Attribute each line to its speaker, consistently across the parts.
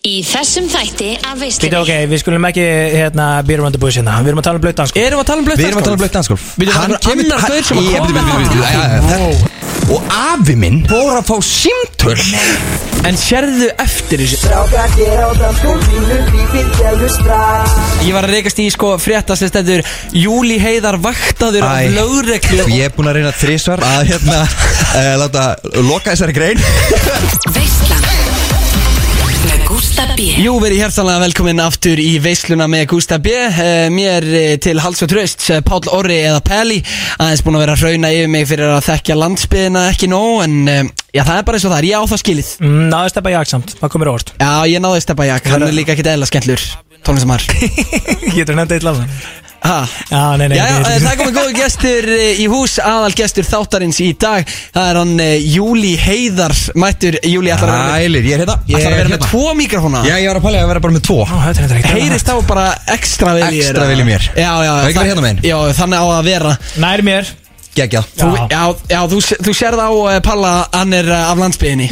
Speaker 1: Í þessum þætti af
Speaker 2: Býtu
Speaker 1: veislunni
Speaker 2: ok, við skulum ekki hérna býrum undir búið sinna Við erum að tala um blöitt dansk
Speaker 3: Erum við að tala um blöitt
Speaker 4: Við erum að tala um blöitt dansgolf
Speaker 3: Við erum að tala um annar gaur sem að
Speaker 4: Ég-
Speaker 3: koma
Speaker 4: bíddu, bíddu, bíddu, bíddu, já, já, þetta- Og afi minn fór að fá símtöl
Speaker 3: En sérðu eftir þessu
Speaker 5: Strákar gera á dansgólfinu Lífið gerður strax
Speaker 3: Ég var að reykast í sko frétta sem stendur Júli Heiðar vaktaður af
Speaker 4: Æ. sko,
Speaker 3: lögreglu
Speaker 4: Ég er búin að reyna þrísvar að hérna uh, láta loka þessari grein
Speaker 1: Veislan Með Gústa B
Speaker 3: Jú, verið hjertalega velkomin aftur í veisluna með Gústa B Eh, Mér eh, til hals og tröst, eh, Páll Orri eða Peli Aðeins búin að vera að hrauna yfir mig fyrir að þekkja landsbyðina ekki nóg En eh, já, það er bara eins og það er, ég á það skilið
Speaker 2: mm, Náðu steppa jakk samt, það komir óvart
Speaker 3: Já, ég náði steppa jakk, hann er líka ekkit eðla skemmtlur Tónlistamar
Speaker 2: Getur nefndi eitt lafna
Speaker 3: Ha,
Speaker 2: Já, nei, nei,
Speaker 3: Já,
Speaker 2: nei,
Speaker 3: það er komið góðu gestur eh, í hús, aðal gestur þáttarins í dag Það er hann eh, Júli Heiðar, mættur Júli ætlar að vera með
Speaker 4: Ælir, ég er hérna
Speaker 3: Ætlar að vera með
Speaker 4: hérna.
Speaker 3: tvo mikrofóna
Speaker 4: Já, ég var að pæla í að vera bara með tvo
Speaker 2: Ó, þetta er þetta ekki
Speaker 3: Heyrist á bara ekstra vel í þér
Speaker 4: Extra vel í mér.
Speaker 3: Já, já
Speaker 4: Það er ekki verið hérna megin.
Speaker 3: Já, þannig á að vera
Speaker 2: Nær mér
Speaker 4: Gægjað
Speaker 3: Þú,
Speaker 2: Já.
Speaker 3: já, já, þú, s- þú sérð á eh, Palla að hann er eh, af landsbyðinni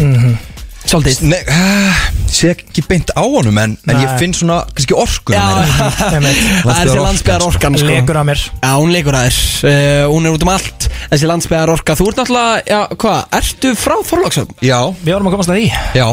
Speaker 3: Svolítið
Speaker 4: Mhm. Nei, ah, sé ekki beint á honum En, en
Speaker 2: Nei.
Speaker 4: ég finn svona, kannski orku
Speaker 3: Já, það
Speaker 2: einmitt.
Speaker 3: er þessi landsbyðar orkan sko.
Speaker 2: Lekur á mér
Speaker 3: Já, hún leikur að þér uh, Hún er út um allt Þessi landsbyðar orka Þú ert náttúrulega, já, hvað, ertu frá Þorlóksöfn?
Speaker 4: Já,
Speaker 2: Við vorum að komast að því
Speaker 4: já,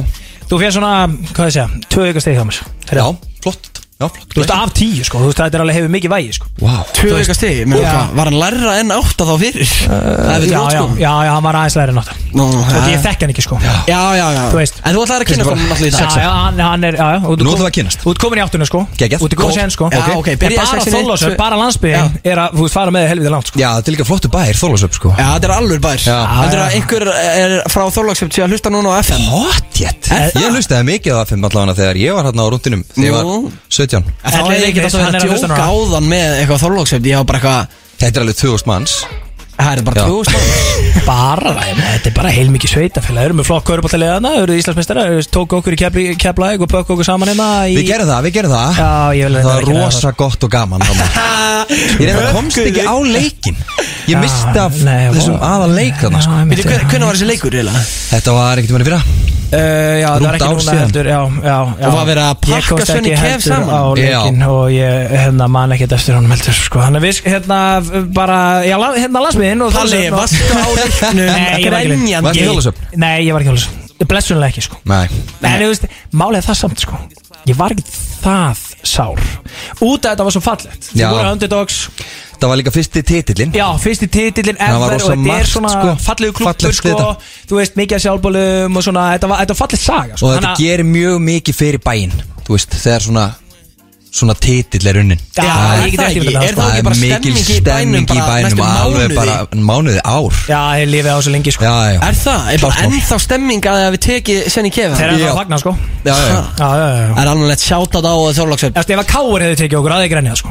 Speaker 2: Þú fyrir svona, hvað ég segja, tvö ykkur stegið á mér Herra.
Speaker 4: já, flott Já, flott
Speaker 2: Þú veist af tíu sko, þú veist þetta er alveg hefur mikið vægi sko
Speaker 4: Vá
Speaker 3: Tvö veika stegi, menn hvað, var hann lærra enn átta þá fyrir? Það
Speaker 2: Eh,
Speaker 3: er við
Speaker 2: Já,
Speaker 3: þrótt
Speaker 2: já,
Speaker 3: sko
Speaker 2: já, já, hann var aðeins læri nátt Þú
Speaker 3: Nú,
Speaker 2: veist,
Speaker 3: já.
Speaker 2: ég þekk hann ekki sko Já,
Speaker 3: Já, já, já
Speaker 2: Þú veist.
Speaker 3: En þú ætlaði að kynna
Speaker 4: Kannski
Speaker 3: komum
Speaker 4: bara-
Speaker 3: náttúrulega í dag
Speaker 2: já, hann, hann er, já, já og þú
Speaker 4: Nú
Speaker 2: kom-
Speaker 4: ætlum við að kynnast.
Speaker 2: Þú ert komin í áttuna sko
Speaker 4: Geggjað.
Speaker 2: Þú ert góð
Speaker 4: Góð.
Speaker 2: sen sko
Speaker 3: Já, ok,
Speaker 2: En
Speaker 3: byrjaði
Speaker 2: bara
Speaker 3: sexinni,
Speaker 2: þólasur,
Speaker 3: tvö-
Speaker 2: bara landsbyðin Er að, þú veist, fara með þér helviti langt sko
Speaker 4: Já, þetta er líka flottu bæir, Þorlósöp sko
Speaker 3: Já, þetta er alveg bær
Speaker 4: Já.
Speaker 3: Þetta
Speaker 2: Já,
Speaker 3: er að
Speaker 2: já.
Speaker 3: einhver er frá Þorlóksöfn sé að hlusta núna á FM
Speaker 4: Hot yet
Speaker 3: Er það?
Speaker 4: Ég hlustaði mikið á FM allavega þegar ég var hérna á rúndinum Þegar ég
Speaker 3: Nú.
Speaker 4: var 17
Speaker 3: En Þá
Speaker 2: Ellegar
Speaker 3: er ég ekki
Speaker 2: Davis,
Speaker 3: alltaf
Speaker 2: hann
Speaker 3: að
Speaker 2: er að hlusta
Speaker 3: djóka
Speaker 2: núna.
Speaker 3: áðan með eitthvað Þorlóksöfn Ég á bara eitthvað,
Speaker 4: Þetta er alveg 2000 manns
Speaker 3: það er bara
Speaker 4: Já.
Speaker 3: tvö stund
Speaker 2: Bara, nei, þetta er bara heilmikið sveitafélag Þeir eru með flokk köruboltaliðana, þeir eru Íslandsmeistara Þeir tóku okkur í kefli, keflaðið og pökku okkur saman hérna í...
Speaker 4: Við gerum það, við gerum það
Speaker 2: Já, ég vil
Speaker 4: Það
Speaker 2: reyndar
Speaker 4: er
Speaker 2: ekki ræða
Speaker 4: rosa gott og gaman Róman. Ég reyna komst ekki á leikin Ég
Speaker 2: Já,
Speaker 4: misti af
Speaker 2: nei,
Speaker 4: þessum
Speaker 2: vá.
Speaker 4: aða leik þarna sko.
Speaker 2: Já, einmitt.
Speaker 3: Veitir, hvernig var þessi leikur eiginlega?
Speaker 4: Þetta var ekkert manni fyrra
Speaker 2: Uh, já, það var
Speaker 4: Rúmt
Speaker 2: ekki
Speaker 4: ár
Speaker 2: núna
Speaker 4: síðan.
Speaker 2: heldur já, já, já.
Speaker 3: Og var verið að
Speaker 2: Ég
Speaker 3: pakka
Speaker 2: komst
Speaker 3: Svenni
Speaker 2: ekki
Speaker 3: Kef
Speaker 2: heldur
Speaker 3: saman?
Speaker 2: Á
Speaker 4: Já.
Speaker 2: leikin og ég hérna, man ekkert eftir honum heldur sko. Þannig að við sk- hérna bara Já, la- hérna landsmiðin og
Speaker 3: Palli,
Speaker 2: Þorlákshöfn og-
Speaker 3: varstu á leiknum?
Speaker 2: Nei, ég var ekki leik.
Speaker 3: Grenjandi.
Speaker 4: Varstu í Þorlákshöfn?
Speaker 2: Nei, ég var ekki hjólusöfn Blessunlega ekki sko
Speaker 4: Nei
Speaker 2: En þú veist, málið er það samt sko Ég var ekki það sár Út að þetta var svo fallegt Þið
Speaker 4: Já.
Speaker 2: voru underdogs
Speaker 4: Það var líka fyrsti titillin
Speaker 2: Já, fyrsti titillin
Speaker 4: Það var
Speaker 2: ever Og
Speaker 4: rosa
Speaker 2: þetta er
Speaker 4: margt,
Speaker 2: svona
Speaker 4: sko.
Speaker 2: fallegu klubur
Speaker 4: Fallegt
Speaker 2: sko
Speaker 4: við þetta.
Speaker 2: Þú veist, mikið af sjálfbólum og svona Þetta var, þetta var falleg saga
Speaker 4: Og
Speaker 2: sko.
Speaker 4: þetta
Speaker 2: Þannig að-
Speaker 4: gerir mjög mikið fyrir bæinn Þú veist, þegar svona Svona titill er unnin
Speaker 2: Já,
Speaker 4: Það
Speaker 2: ég
Speaker 4: er-
Speaker 2: get ekki
Speaker 3: það ekki?
Speaker 2: verið það,
Speaker 3: Er
Speaker 2: sko.
Speaker 3: það
Speaker 4: það
Speaker 3: ekki
Speaker 4: er
Speaker 3: bara
Speaker 4: mikil
Speaker 3: stemning í bænum
Speaker 4: stemning í
Speaker 3: bara næstu
Speaker 4: bænum Alveg
Speaker 3: mánuði?
Speaker 4: bara mánuði ár
Speaker 2: Já, þeir lifið á þessu lengi sko
Speaker 4: Já, já
Speaker 3: Er það? Er
Speaker 4: Klárt
Speaker 3: bara
Speaker 4: mál.
Speaker 3: ennþá stemming að það við tekið Svenni Kefa?
Speaker 2: Þeir eru
Speaker 4: Já.
Speaker 2: það að fagna sko
Speaker 4: Já, já,
Speaker 2: Já,
Speaker 4: já
Speaker 2: já, já, já
Speaker 3: Það er alveg lett sjátað á Þorlóksöfn
Speaker 2: Eftir ef að Káur hefði tekið okkur, aðeins grenjað sko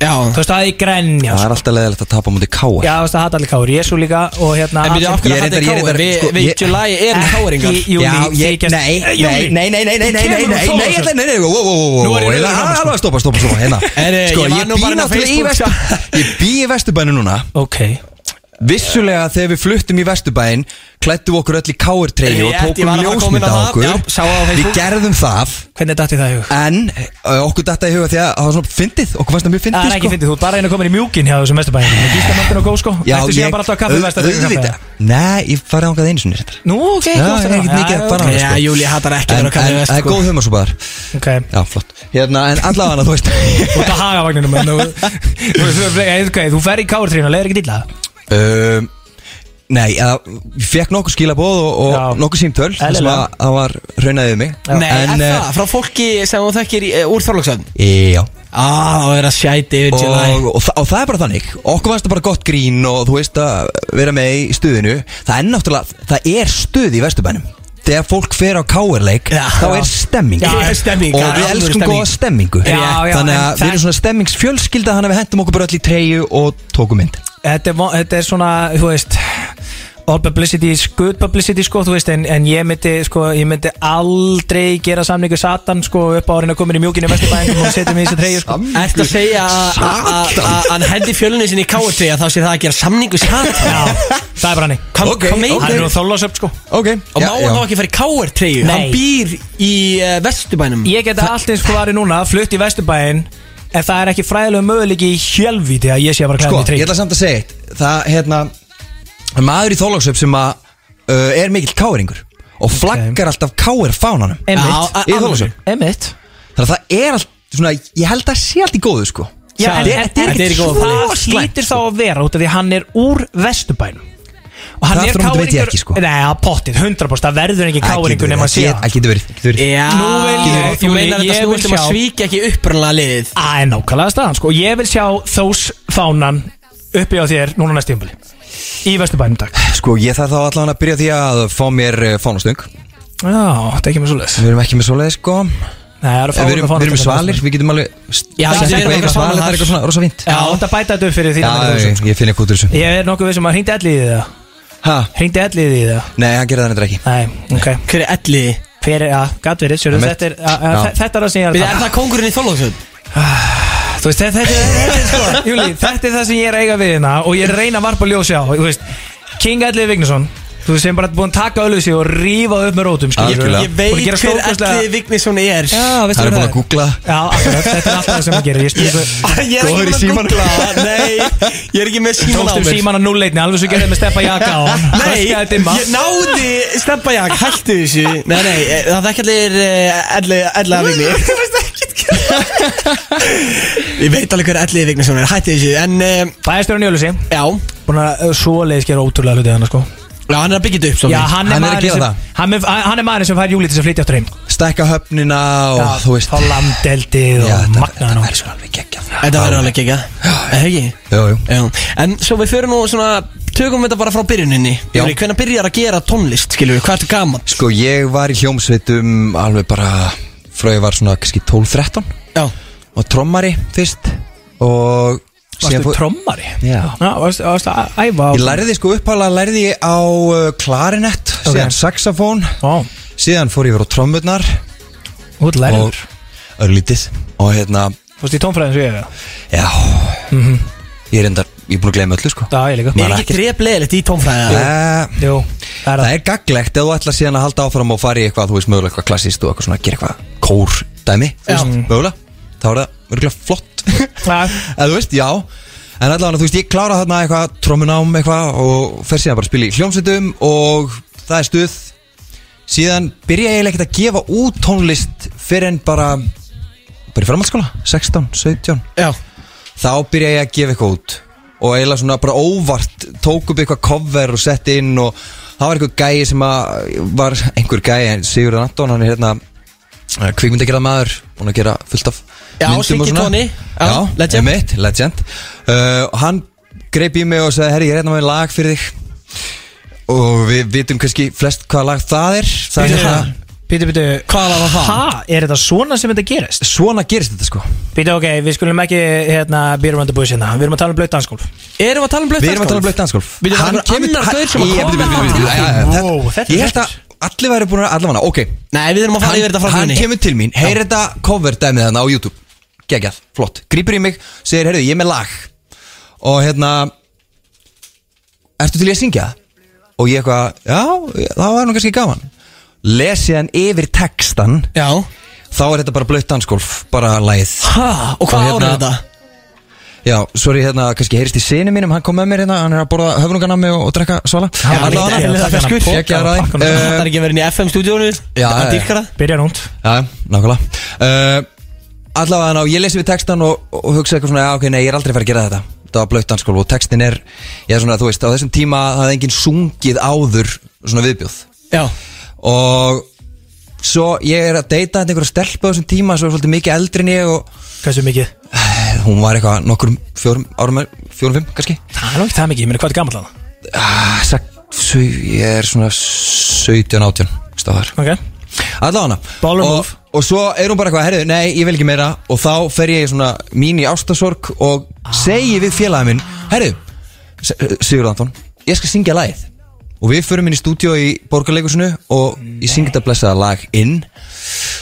Speaker 2: Þú
Speaker 3: Já,
Speaker 2: veist, aðeins grenjað
Speaker 4: Það
Speaker 2: sko.
Speaker 4: er alltaf leðilegt að tapa mútið káa
Speaker 2: Já, þú veist, það hatt allir Káur, Jésu líka og hérna
Speaker 3: En byrju, af
Speaker 4: Ég
Speaker 3: hverju
Speaker 4: reyndar-
Speaker 3: hattir
Speaker 4: ég
Speaker 3: káir?
Speaker 4: reyndar-
Speaker 3: Við
Speaker 4: sko,
Speaker 3: við
Speaker 4: ég-
Speaker 3: July erum káringar
Speaker 2: Ekki- Júlí,
Speaker 4: Já, ég,
Speaker 2: þykjast-
Speaker 4: nei,
Speaker 2: Eh,
Speaker 4: nei,
Speaker 2: Júlí.
Speaker 4: nei, nei, nei, nei, nei, nei,
Speaker 2: Kemur
Speaker 4: nei,
Speaker 2: frá
Speaker 4: nei, nei, nei,
Speaker 2: Þorlákshöfn.
Speaker 4: nei, nei, wow, wow,
Speaker 2: Nú
Speaker 4: wow, wow,
Speaker 2: er ég
Speaker 4: wow,
Speaker 2: niður að koma, sko.
Speaker 4: alveg stoppa, stoppa, stoppa, hérna
Speaker 3: Herri,
Speaker 4: Sko,
Speaker 3: ég var
Speaker 4: ég
Speaker 3: nú
Speaker 4: bý
Speaker 3: bara inn á
Speaker 4: náttúrulega í
Speaker 3: Facebook,
Speaker 4: vestu Ég bý í vesturbænu núna
Speaker 2: Ok
Speaker 4: Vissulega þegar við fluttum í vesturbæn Klættum við okkur öll í káertreyju og
Speaker 3: Rétt, ég
Speaker 4: tókum
Speaker 3: var að fara að koma inn á
Speaker 4: ljósmynda á
Speaker 3: það.
Speaker 4: okkur
Speaker 3: Já, sá það á
Speaker 4: Við
Speaker 3: Facebook.
Speaker 4: gerðum það
Speaker 2: Hvernig dætti það í hug?
Speaker 4: En ö, okkur datta í huga því að það var svona fyndið Okkur fannst það mjög
Speaker 2: Það er ekki
Speaker 4: fyndið, sko
Speaker 2: fyndið, þú ert bara einu komin í mjúkin hjá þessum vestabæðin Með gístamöndin og góð sko Ertu síðan bara alltaf að kaffi
Speaker 4: au- auðvitað.
Speaker 2: vestabæðin
Speaker 4: Nei, ég farið ángað einu sinni reyndar.
Speaker 2: Nú, ok,
Speaker 4: Já,
Speaker 2: ekki
Speaker 4: ég er ekkert mikið að
Speaker 2: Já,
Speaker 4: fara þangað,
Speaker 3: Já,
Speaker 4: sko.
Speaker 3: Júli hattar ekki að vera
Speaker 4: En
Speaker 3: sko.
Speaker 4: en-
Speaker 3: kallið
Speaker 4: það er góð humarsúpaðar
Speaker 2: ok
Speaker 4: Já, flott Hérna, en allavega þú veist
Speaker 2: Út að haga vagninum en þú- þú- þú- þú- ok, Þú fer í kártrínu og leiðir ekki dilla
Speaker 4: Um, nei, eða, ég fekk nokkuð skilabóð og,
Speaker 2: Já.
Speaker 4: og nokkuð símtöl þar sem að
Speaker 2: Eðlilega.
Speaker 4: það var raunaðið mig
Speaker 3: Nei, er
Speaker 4: en, eh,
Speaker 3: það? Frá fólki sem þú þekkir í- eh, úr Þorlóksöfn?
Speaker 4: e, Já
Speaker 3: Ah, það var að sjæti yfir July
Speaker 4: Og, og, þa og það er bara þannig Okkur fannst það bara gott grín og þú veist að vera með í stuðinu Það er náttúrulega, það er stuð í vesturbænum Þegar fólk fer á káerleik
Speaker 3: Já.
Speaker 4: Þá er stemming
Speaker 3: Já, það er stemming,
Speaker 4: Og
Speaker 3: það er
Speaker 4: við
Speaker 3: alvöru
Speaker 4: elskum
Speaker 3: stemming.
Speaker 4: góða stemmingu
Speaker 2: Já, já,
Speaker 4: Þannig
Speaker 2: en
Speaker 4: að við
Speaker 2: það-
Speaker 4: erum svona stemmingsfjölskylda Þannig að við hentum okkur bara öll í treyju og tókum mynd
Speaker 2: Þetta er mo- þetta er svona, þú veist all publicity is good publicity sko, þú veist, en, en ég myndi sko, ég myndi aldrei gera samningu satan sko upp á orðin að komin í mjúkinu vesturbæðingum og setjum í þessi treyju sko
Speaker 3: Ertu að segja að- að- að að hann hendi fjölunni sinni í káatri að þá sé það að gera samningu satt
Speaker 2: Já, það er bara hann
Speaker 3: Hvað
Speaker 4: Ok,
Speaker 3: okay,
Speaker 4: ok.
Speaker 2: Hann
Speaker 3: meinar
Speaker 2: er nú þólasöp sko
Speaker 4: Ok
Speaker 3: Og má hann þá ekki fara í káartreyju?
Speaker 2: Nei.
Speaker 3: Hann býr í uh, Vesturbænum
Speaker 2: Ég geta allt eins sko varði núna, flutt í vesturbæðin En það er ekki fræðilega möguleiki í hjálfvíti að ég sé að fara að
Speaker 4: Sko,
Speaker 2: klæða mig í
Speaker 4: ég
Speaker 2: treyju
Speaker 4: ætla samt að segja eitt Það, hérna Maður í þólagsöp sem að uh, Er mikill káringur Og flaggar alltaf káir fánanum
Speaker 2: Einmitt,
Speaker 3: Já,
Speaker 4: Í Þorlákshöfn.
Speaker 2: einmitt
Speaker 4: Þannig að það er allt Svona, ég held að það sé allt í góðu sko
Speaker 2: Já, en
Speaker 4: Þetta er-
Speaker 2: þetta
Speaker 3: þetta
Speaker 2: er
Speaker 3: er
Speaker 2: ekki
Speaker 3: ekki
Speaker 2: svo
Speaker 3: góð.
Speaker 2: slítur
Speaker 4: sko.
Speaker 2: þá að vera út af því að hann er úr vesturbænum og hann
Speaker 4: Það
Speaker 2: er
Speaker 4: aftur á móti veit ég
Speaker 2: káringur-
Speaker 4: ekki, sko.
Speaker 2: Nei, að pottið, 100% það verður ekki
Speaker 4: Það
Speaker 2: káringur
Speaker 4: getur
Speaker 2: nema Eh. að sé
Speaker 4: verið,
Speaker 2: hann.
Speaker 4: Það getur verið, getur verið
Speaker 3: Já,
Speaker 2: Nú vil ég-
Speaker 3: þú meinar
Speaker 2: ég
Speaker 3: þetta
Speaker 2: vil
Speaker 3: snúist um að
Speaker 2: sjá-
Speaker 3: svíkja ekki upprunnalega liðið
Speaker 2: Það er nákvæmlega staðan sko. Ég vil sjá þós fánan uppi á þér núna næst tímpili Í vesturbænum dag
Speaker 4: Sko, ég þarf þá allan að byrja á því að fá mér eh, fánastöng
Speaker 2: Já, þetta er ekki með svo leis Nei,
Speaker 4: Við erum ekki með svoleiði sko Við
Speaker 2: það er að fá
Speaker 4: erum, við erum svalir, við getum alveg
Speaker 3: Já,
Speaker 4: sett
Speaker 3: við erum
Speaker 4: eitthvað
Speaker 3: eitthvað
Speaker 4: eitthvað svalir, það er eitthvað svona rosa fínt
Speaker 2: Já, þetta bæta þetta upp fyrir því
Speaker 4: Já, ég- ég finn eitthvað út úr þessu
Speaker 2: Ég er nokkuð við sem að hringdi ellið í það
Speaker 4: Ha?
Speaker 2: Hringdi ellið í það
Speaker 4: Nei, hann gerði það neitt ekki
Speaker 2: Nei, ok
Speaker 3: Hver er elliði?
Speaker 2: Fyrir, já, gæt verið, sérðu,
Speaker 4: Einmitt.
Speaker 2: þetta er að- að-
Speaker 4: Já.
Speaker 2: Þetta er það sem ég er að
Speaker 3: Við
Speaker 2: tala um.
Speaker 3: er það kóngurinn í Þorlóksund?
Speaker 2: Þú veist, þetta, þetta, þetta, er sko, Júli, þetta er það sem ég er að eiga við hérna og ég er að reyna að varpa ljósi á Þú veist, King Ellið Vignesson þú veist, sem bara búin að taka öllusi og rífa upp með rótum skilurðu.
Speaker 4: Algjörlega.
Speaker 3: Ég
Speaker 2: Búin að
Speaker 3: veit
Speaker 2: gera
Speaker 3: hver
Speaker 2: stórkostlega-
Speaker 3: elliði Vignisson er
Speaker 2: Já, veistu
Speaker 4: Það er
Speaker 2: hvað
Speaker 4: búin að googla
Speaker 2: Já, akkurat, þetta er alltaf það sem hann gerir Ég spyrir svo
Speaker 3: Ég er
Speaker 4: Góður í
Speaker 3: ekki
Speaker 4: símanum.
Speaker 3: með að googla Nei, ég er ekki með síman á
Speaker 2: Tókstum
Speaker 3: mér
Speaker 2: síman að nullleitni, alveg svo gerðið með steppa jaka á hann
Speaker 3: Nei,
Speaker 2: Raskaði dimma.
Speaker 3: ég náði Steppa Jakk, hættu þessu Nei, nei, eh, það er ekki allir eh, elli- Elliða Vigni Þú veist ekki Ég veit alveg hver elliði Vigni sem er, hættu þessu En, eh,
Speaker 2: Bæjarstjórinn í öllusi
Speaker 3: já,
Speaker 2: Búin að uh, svoleiðis gera ótrúlega hlutið hann sko.
Speaker 3: já, hann er að byggja þetta upp svo
Speaker 2: Já, hann er
Speaker 4: Hann er að
Speaker 2: maðurinn
Speaker 4: gera
Speaker 2: sem
Speaker 4: það.
Speaker 2: hann er- Hann er maðurinn sem fær Júli til þess að flytja áttur heim
Speaker 4: Stækka höfnina og
Speaker 2: Já,
Speaker 4: þú veist
Speaker 2: Þá landeldið
Speaker 4: Já,
Speaker 2: og
Speaker 4: þetta-
Speaker 2: magnaðan á
Speaker 4: Þetta verður svo alveg geggjað
Speaker 3: Þetta verður alveg ekki, ekki?
Speaker 4: Jú, jú
Speaker 3: Já, en svo við förum nú svona Tökum þetta bara frá byrjuninni
Speaker 4: Já.
Speaker 3: Júri, Hvernig byrjar að gera tónlist, skilur við, hvað ertu gaman?
Speaker 4: Sko, ég var í hljómsveitum alveg bara Frá ég var svona kannski 12-13
Speaker 3: Já,
Speaker 4: Og trommari fyrst Og síðan
Speaker 2: Varstu
Speaker 4: fór-
Speaker 2: trommari?
Speaker 4: Já.
Speaker 2: varstu, varstu að æfa á
Speaker 4: Ég læriði sko uppálega læriði ég á uh, klarinett,
Speaker 2: Ok.
Speaker 4: síðan saxofón
Speaker 2: Ó,
Speaker 4: síðan fór ég verið á trommurnar
Speaker 2: þú ert
Speaker 4: og
Speaker 2: læriður
Speaker 4: örlítið og hérna,
Speaker 2: Fórstu í tónfræðin svo ég er það?
Speaker 4: já
Speaker 2: Mhm.
Speaker 4: ég er enda, ég er búin að gleyma öllu sko
Speaker 2: Já, ég líka
Speaker 3: mér er ekki dreflegilegt í tónfræða
Speaker 4: Eh,
Speaker 2: Jú, það er
Speaker 4: Það
Speaker 2: það
Speaker 4: er gaglegt ef þú ætlar síðan að halda áfram og fara í eitthvað, þú veist mögulega eitthvað klassist og eitthvað svona, gera eitthvað kór dæmi, þú veist, mögulega þá er það örgulega flott
Speaker 2: Já,
Speaker 4: eða þú veist, já en allavega, þú veist, ég klára þarna eitthvað trommunám eitthvað og fer síðan bara að spila í hljómsveitum og það er stuð síðan byrja ég ekkert að gefa út tónlist fyrir en bara bara í framhaldsskóla, 16, 17
Speaker 3: Já,
Speaker 4: þá byrja ég að gefa eitthvað út og eiginlega svona bara óvart tók upp eitthvað cover og sett inn og það var einhver gæi sem að var einhver gæi, en Sigurðan Anton hann er hérna kvikmyndagerða maður búin að gera fullt af
Speaker 3: Já,
Speaker 4: myndum og
Speaker 3: Siggi
Speaker 4: svona
Speaker 3: Tóni, já,
Speaker 4: já,
Speaker 3: legend.
Speaker 4: einmitt, legend. Uh, hann greip í mig og sagði herri, ég er hérna með lag fyrir þig og við vitum kannski flest hvaða lag það er það er
Speaker 2: Býtu,
Speaker 4: hérna,
Speaker 2: býtu, býtu
Speaker 3: hvað var það?
Speaker 2: Ha, er þetta svona sem þetta gerist?
Speaker 4: svona gerist þetta sko
Speaker 2: Býtu, ok, við skulum ekki hérna beer around the bush hérna Við erum að tala um blöitt danskólf
Speaker 3: Erum við að tala um blöð
Speaker 4: Við erum að tala um blöitt dansgolf
Speaker 3: Við erum að tala um annar gaur sem að koma til þín.
Speaker 2: Wow,
Speaker 4: dansgolf
Speaker 2: þetta er
Speaker 4: Ég held að allir væri búin að allavega Ok,
Speaker 3: Nei, við erum að fara yfir þetta frá
Speaker 4: hann
Speaker 3: byrjuninni
Speaker 4: kemur til mín Heyr þetta cover dæmið hann á YouTube Gegjað, flott Grýpur í mig, segir, heyrðu, ég er með lag Og hérna Ertu til í að syngja? Og ég eitthvað, já, það var nú kannski gaman Les ég hann yfir textan
Speaker 3: Já,
Speaker 4: Þá er þetta bara blöitt dansgolf Bara lagið
Speaker 3: ha, og
Speaker 4: Og
Speaker 3: hvað
Speaker 4: hérna-
Speaker 3: ára er þetta?
Speaker 4: Já, sorry, hérna, kannski heyrist í sinni mínum, hann kom með mér hérna, hann er að borða höfnunganami og, og drekka svala
Speaker 2: Já,
Speaker 4: Alla
Speaker 2: ég-
Speaker 4: vega.
Speaker 2: ég-
Speaker 3: það
Speaker 2: taka
Speaker 3: fyrir
Speaker 2: hana
Speaker 3: skutt
Speaker 2: poka
Speaker 4: Geggjaður
Speaker 2: og
Speaker 4: aðeim.
Speaker 2: pakka hana.
Speaker 4: Eh,
Speaker 3: Það er ekki að vera inn í FM stúdíónu
Speaker 4: Já, eh.
Speaker 3: Það
Speaker 4: já, já.
Speaker 3: dýrkara
Speaker 2: Byrja núnt
Speaker 4: Já, nákvæmlega uh, Allavega ná, ég lesi við textan og, og hugsa eitthvað svona, já ok, nei, ég er aldrei að fara að gera þetta Þetta var blöitt danskól og textin er, ég er svona, þú veist, á þessum tíma það er enginn sungið áður svona viðbjóð
Speaker 3: Já,
Speaker 4: Og svo ég er að deyta þetta einhverja stelpa á þessum tíma svo er svolítið mikið eldri en ég og eh,
Speaker 2: Hversu mikið?
Speaker 4: hún var eitthvað nokkur fjórum árum, fjórum fimm kannski
Speaker 2: Það er nú ekki það mikið, ég meina hvað er gammal hann?
Speaker 4: ah, sagt, svo, Ég er svona 17, 18, stáðar
Speaker 2: Ok,
Speaker 4: Allána
Speaker 2: Baller
Speaker 4: og,
Speaker 2: move.
Speaker 4: og svo er hún bara eitthvað, herðu, nei, ég vil ekki meira Og þá fer ég í svona mín í ástasorg Og segi við félagin minn Herðu, Sigurð Anton, ég skal syngja lagið og við förum inn í stúdíó í borgarleikusinu og ég syngi þetta blessaða lag inn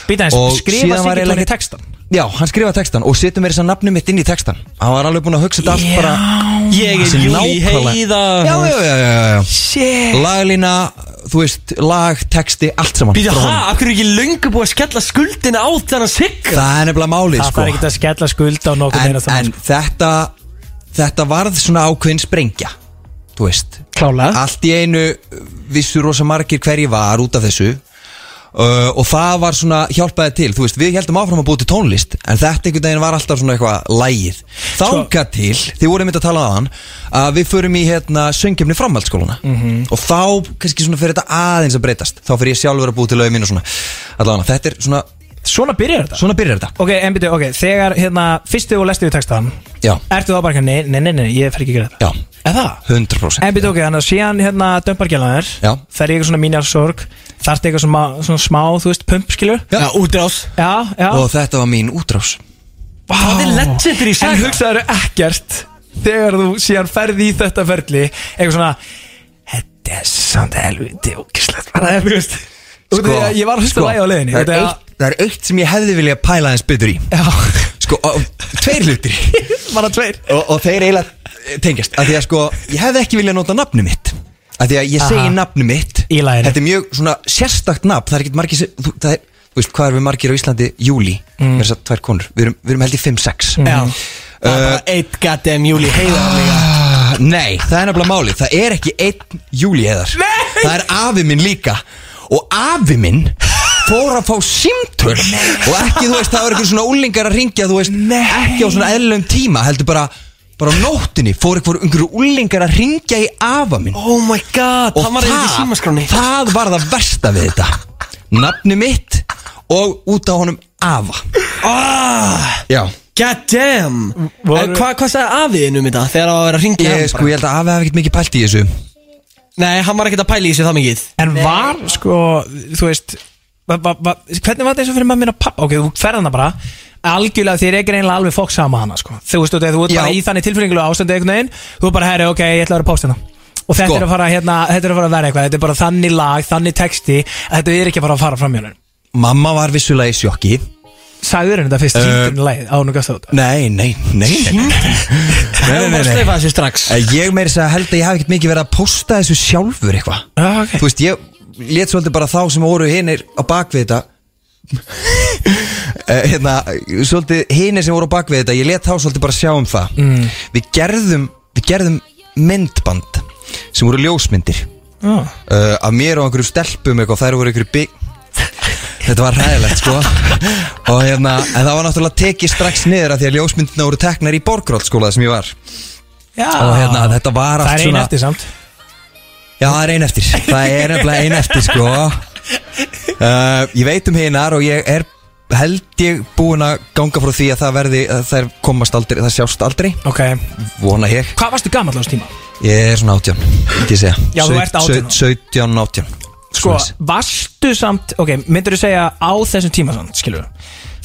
Speaker 2: Býta
Speaker 4: Og
Speaker 2: eins, skrifa
Speaker 4: síðan var
Speaker 2: Siggi
Speaker 4: eiginlega
Speaker 2: Tóni
Speaker 4: ekkert-
Speaker 2: textan
Speaker 4: Já, hann skrifa textan og setur mér þess að nafni mitt inn í textan Hann var alveg búinn að hugsa þetta allt bara
Speaker 3: Ég er
Speaker 4: Þessi
Speaker 3: Júli
Speaker 4: nákvæmlega. Sko.
Speaker 3: Heiða
Speaker 4: Já, já, já, já, já, já.
Speaker 3: Shit
Speaker 4: Laglína, þú veist, lag, texti, allt saman
Speaker 3: Býtu, hæ,
Speaker 4: frá honum.
Speaker 3: af hverju er ekki löngu búið að skella skuldina á þennan sigga?
Speaker 4: Það er nefnilega málið,
Speaker 2: Það
Speaker 4: sko
Speaker 2: þarf ekki að skella skuld á nokkuð
Speaker 4: en,
Speaker 2: meira það sko.
Speaker 4: en þetta, þetta varð svona ákveðin sprengja Þú veist
Speaker 3: Klálega
Speaker 4: Allt í einu vissu rosa margir hverji var út af þessu Uh, og það var svona hjálpaði til þú veist, við heldum áfram að búið til tónlist en þetta einhvern veginn var alltaf svona eitthvað lægið
Speaker 2: Sko-
Speaker 4: þánga til, þið voru einmitt að tala að hann að við förum í hérna söngjumni framhaldsskóluna
Speaker 2: Mhm.
Speaker 4: og þá kannski svona fyrir þetta aðeins að breytast þá fyrir ég sjálfur að búið til lögum mín og svona allavega, þetta er svona,
Speaker 2: Svona byrjar þetta
Speaker 4: svona byrjar þetta
Speaker 2: Ok, en býtu, ok, þegar hérna Fyrst þegar þú lestið við textan
Speaker 4: já,
Speaker 2: Ertu þá bara ekki, nei, nei, nei, nei, ég fer ekki að gera þetta
Speaker 4: já,
Speaker 2: Er það?
Speaker 4: 100%
Speaker 2: En býtu, ok, þannig að síðan hérna Dömbar gælaðir
Speaker 4: Já.
Speaker 2: Fer ég eitthvað svona mínar sorg Þarfti eitthvað svona, svona smá, þú veist, pump, skilur
Speaker 4: Já.
Speaker 3: Já, útrás
Speaker 2: Já, já
Speaker 4: og þetta var mín útrás
Speaker 3: Það er legendary
Speaker 2: En
Speaker 3: saga
Speaker 2: hugsaður ekkert Þegar þú síðan ferði í þetta ferli Eitthvað svona Þetta er samt helviti ókislegt Bara ef þú veist sko, því, að Ég var að hlusta sko, lægi á leiðinni
Speaker 4: það er,
Speaker 2: út af því
Speaker 4: eitt, það er eitt sem ég hefði viljað pæla aðeins betur í
Speaker 2: að-
Speaker 4: sko, og- tveir hlutir
Speaker 2: Já, bara tveir
Speaker 4: og, og þeir eiginlega tengjast að því að sko, ég hefði ekki viljað nota nafnu mitt að því að ég segi
Speaker 2: Aha.
Speaker 4: nafnu mitt
Speaker 2: Í laginu.
Speaker 4: þetta er mjög svona sérstakt nafn það er ekkert margir sem, þú, það er, þú veist, hvað er við margir á Íslandi júli, mm. með þess að tvær konur við erum, við erum held í 5-6
Speaker 3: Já Það er bara eitt goddamn Júli Heiða líka.
Speaker 4: nei, það er nefnilega málið, það er ekki einn júli eðar, það er afi minn líka og afi minn fór að fá símtöl og ekki, þú veist, það var eitthvað svona úlingar að ringja, þú veist, ekki á svona eðlum tíma, heldur bara bara á nóttinni fór eitthvað einhverju úlingar að ringja í afa minn
Speaker 3: Oh my god
Speaker 4: og
Speaker 3: Hann var eitthvað í símaskráni
Speaker 4: það var það versta við þetta nafni mitt og út á honum afa
Speaker 3: Ah,
Speaker 4: já
Speaker 3: Goddamn
Speaker 2: Voru-
Speaker 3: En hvað hva sagði afiðin um þetta þegar það var að vera að ringja
Speaker 4: ég, sko, ég held að afi hef ekkert mikið pælt í þessu
Speaker 3: Nei, hann var ekkert að pæla í þessu það mikið
Speaker 2: En var, sko, þú veist va, va, va, Hvernig var þetta eins og fyrir maður minna pappa Ok, þú ferð hana bara Algjörlega þér er ekki reynilega alveg fokk sama hana sko. Þú veist, þú veist, þú ert
Speaker 4: Já.
Speaker 2: bara í þannig tilfinningulega ástandu einhvern veginn Þú er bara, herri, ok, ég ætla að vera póst hérna Og þetta,
Speaker 4: Sko.
Speaker 2: er að fara, hérna, þetta er að fara að vera eitthvað Þetta er bara þannig lag, þannig texti að Þetta er ekki að fara að fara fram hjá henni
Speaker 4: mamma var vissulega í sjokki
Speaker 2: Sæður henni þetta fyrst
Speaker 4: Eh.
Speaker 2: hýndurinn lagið ánum gasta út
Speaker 4: nei, nei, nei, nei, nei, nei,
Speaker 3: Hann var bara að
Speaker 4: nei, nei, nei.
Speaker 3: sleifa þessu strax
Speaker 4: Eh, ég meiri að held að ég hef ekkert mikið verið að posta þessu sjálfur eitthvað
Speaker 2: Já, Ah, ok.
Speaker 4: þú veist, ég let svolítið bara þá sem voru hinnir á bakvið þetta Eh, hérna, svolítið hinnir sem voru á bakvið þetta, ég let þá svolítið bara sjá um það mm. við gerðum við gerðum myndband sem voru ljósmyndir
Speaker 2: oh.
Speaker 4: uh, af mér og einhverjum stelpum eitthvað, þær voru einhverju bygg Þetta var hræðilegt sko og hérna, en það var náttúrulega tekið strax niður af því að ljósmyndina voru teknar í borgróttskóla sem ég var
Speaker 2: Já,
Speaker 4: og hérna, þetta var
Speaker 2: Ah. það
Speaker 4: allt
Speaker 2: er einn
Speaker 4: svona
Speaker 2: eftir sko. samt
Speaker 4: Já, það er ein eftir Það er nefnilega ein eftir, sko uh, Ég veit um hinar og ég er held ég búin að ganga frá því að það verði að þær komast aldrei, það sjást aldrei
Speaker 2: Ok,
Speaker 4: vona ég,
Speaker 2: hvað varstu gamall á þessu tíma?
Speaker 4: ég er svona átján myndi ég segja,
Speaker 2: Já, þú ert 18.
Speaker 4: 17, 18
Speaker 2: Sko, varstu samt, ok, myndur þú segja á þessum tíma samt, skilur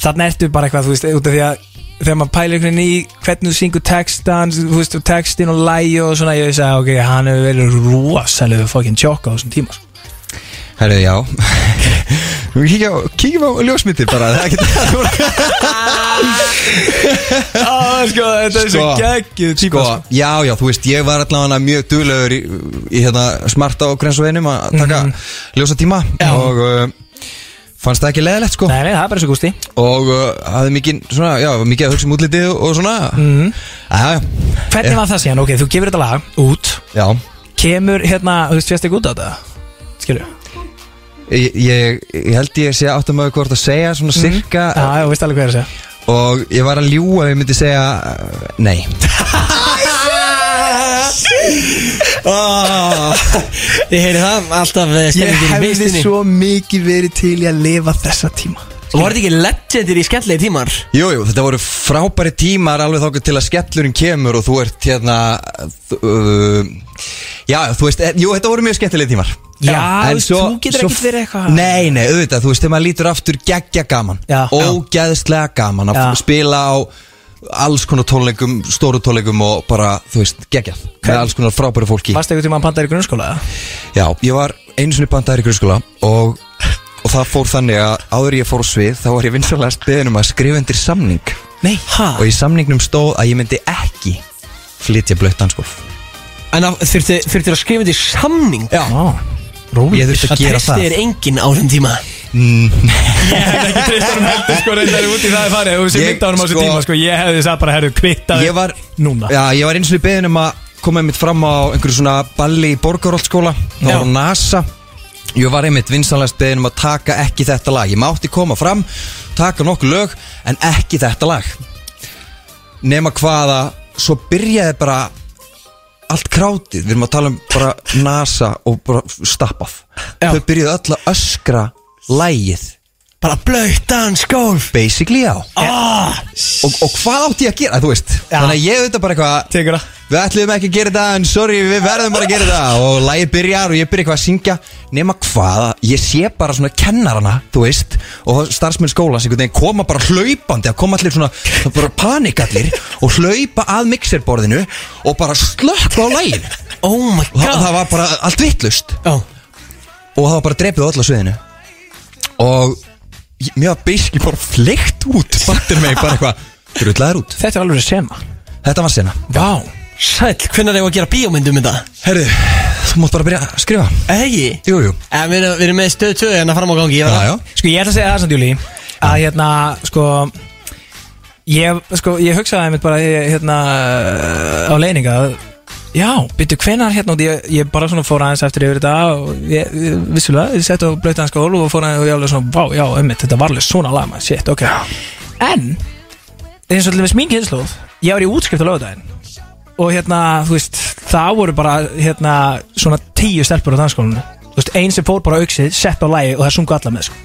Speaker 2: Þannig ertu bara eitthvað, þú veist, út af því að Þegar maður pælir einhvern veginn í hvernig þú syngur textan Þú veist, og textin og lægi og svona Ég sagði, ok, hann hefur verið rosalegu fucking tjokk á þessum tíma sko.
Speaker 4: Herru, já Við kíkjum á, kíkjum á ljósmyndir bara Það er ekki
Speaker 2: Á, sko, þetta er svo geggjuð
Speaker 4: sko,
Speaker 2: típa sko.
Speaker 4: Já, já, þú veist, ég var allavega mjög duglegur í, í hérna smarta og grensveinum að taka ljósa tíma og uh, fannst það ekki leðilegt sko
Speaker 2: Nei, nei, það er bara svo gústi
Speaker 4: og uh, hafði mikið, svona, já, mikið að hugsa um útlitið og svona mm. Já,
Speaker 2: Hvernig var það síðan, ok, þú gefur þetta lag út
Speaker 4: já,
Speaker 2: Kemur, hérna, þú veist, fjast ekki út á þetta Skilur
Speaker 4: ég, ég, ég held ég sé áttum að hvort að segja svona cirka
Speaker 2: Já, já, veist alveg hvað er að segja
Speaker 4: og ég var að ljúga ef ég myndi segja uh, nei
Speaker 3: Ég heyri það alltaf eh, stemmingin í beistinni
Speaker 2: svo mikið verið til í að lifa þessa tíma
Speaker 3: Og var þetta ekki legendir í skemmtlegi tímar?
Speaker 4: Jú, jú, þetta voru frábæri tímar alveg þáka til að skellurinn kemur og þú ert hérna uh, Já, þú veist, eh, jú, þetta voru mjög skemmtilegi tímar
Speaker 2: Já,
Speaker 4: En
Speaker 2: þú veist, þú getur ekkert verið eitthvað-
Speaker 4: Nei, nei, auðvitað, þú veist, þegar maður lítur aftur geggja gaman
Speaker 2: Já.
Speaker 4: Ógeðslega gaman að
Speaker 2: Já.
Speaker 4: spila á alls konar tónleikum, stóru tónleikum og bara, þú veist, geggjað með alls konar frábæru fólki
Speaker 2: Varst eitthvað tíma að panta í grunnskóla eða?
Speaker 4: Já, ég var einu sinni bandaður í grunnskóla og, og það fór þannig að áður en ég fór á svið þá var ég vinsalegast beðin um að skrifa undir samning
Speaker 2: Nei, ha?
Speaker 4: og í samningnum stóð að ég myndi ekki flytja sko. blött dansgolf
Speaker 3: En að- þurfti þurfti að skrifa þetta í samning
Speaker 4: Já,
Speaker 2: Ó, Róli
Speaker 4: ég þurfti að gera
Speaker 3: treysti
Speaker 4: það
Speaker 3: þér enginn á þeim tíma
Speaker 2: Ég hefði ekki trist honum heldur sko reyndar út í það er farið og sem
Speaker 4: Ég,
Speaker 2: mynda honum á þessu
Speaker 4: sko-
Speaker 2: tíma sko ég hefði sagt bara herru kvittað
Speaker 4: Ég var,
Speaker 2: núna
Speaker 4: já, ég var einu sinni beðin um að koma einmitt fram á einhverju svona balli í borgarholtskóla þá
Speaker 2: Já.
Speaker 4: var á NASA ég var einmitt vinsalegast beðin um að taka ekki þetta lag ég mátti koma fram, taka nokkuð lög en ekki þetta lag nema hvaða svo byrjaði bara allt krátið, við erum að tala um bara NASA og bara stappað
Speaker 3: Já.
Speaker 4: þau byrjuðu öll að öskra lægið,
Speaker 3: Bara blöytan skólf
Speaker 4: basically já
Speaker 3: ah,
Speaker 4: og, og hvað átti ég að gera, þú veist þannig að ég auðvitað bara eitthvað
Speaker 2: Tekur það
Speaker 4: Við ætlum ekki að gera þetta en sorry við verðum bara að gera þetta og lægi byrjar og ég byrja eitthvað að syngja nema hvað, ég sé bara svona kennarana, þú veist og starfsmenn skólans einhvern veginn koma bara hlaupandi að koma allir svona, það bara panik allir og hlaupa að mixerborðinu og bara slökka á lægin og
Speaker 3: Oh my
Speaker 4: það,
Speaker 3: god
Speaker 4: það var bara allt vittlust
Speaker 3: Já,
Speaker 4: og það var bara drepið á öllu á sviðinu og ég- mér var beiski bara fleikt út fattir mig bara eitthvað, drullæður út
Speaker 2: Þetta er alveg sema
Speaker 4: þetta var sena
Speaker 2: Vá
Speaker 3: Sæll, hvernig er ég að gera bíómyndum þetta?
Speaker 4: Herðu, þú mátt bara byrja að skrifa
Speaker 3: Egi
Speaker 4: Jú, jú
Speaker 3: En við erum, við erum með stöð 2 en að fara á gangi Ég var
Speaker 4: Já, já
Speaker 2: Sko ég ætla að segja það samt Júli að hérna sko ég, sko, ég hugsaði einmitt bara ég, hérna á leininga að, já, byrju hvenar hérna og ég, ég bara svona fór aðeins eftir yfir þetta og ég, ég- vissulega, ég sett á blöytan skól og fór aðeins og ég alveg svona, vá, já, einmitt þetta var alveg svona lag, maður, shit, ok en, eins og til dæmis mín kynnslóð ég var í útskrift á lögudaginn og hérna, þú veist, það voru bara hérna, svona tíu stelpur á danskólinu, þú veist, ein sem fór bara á auksið, sett á lægi og það sungu alla með, sko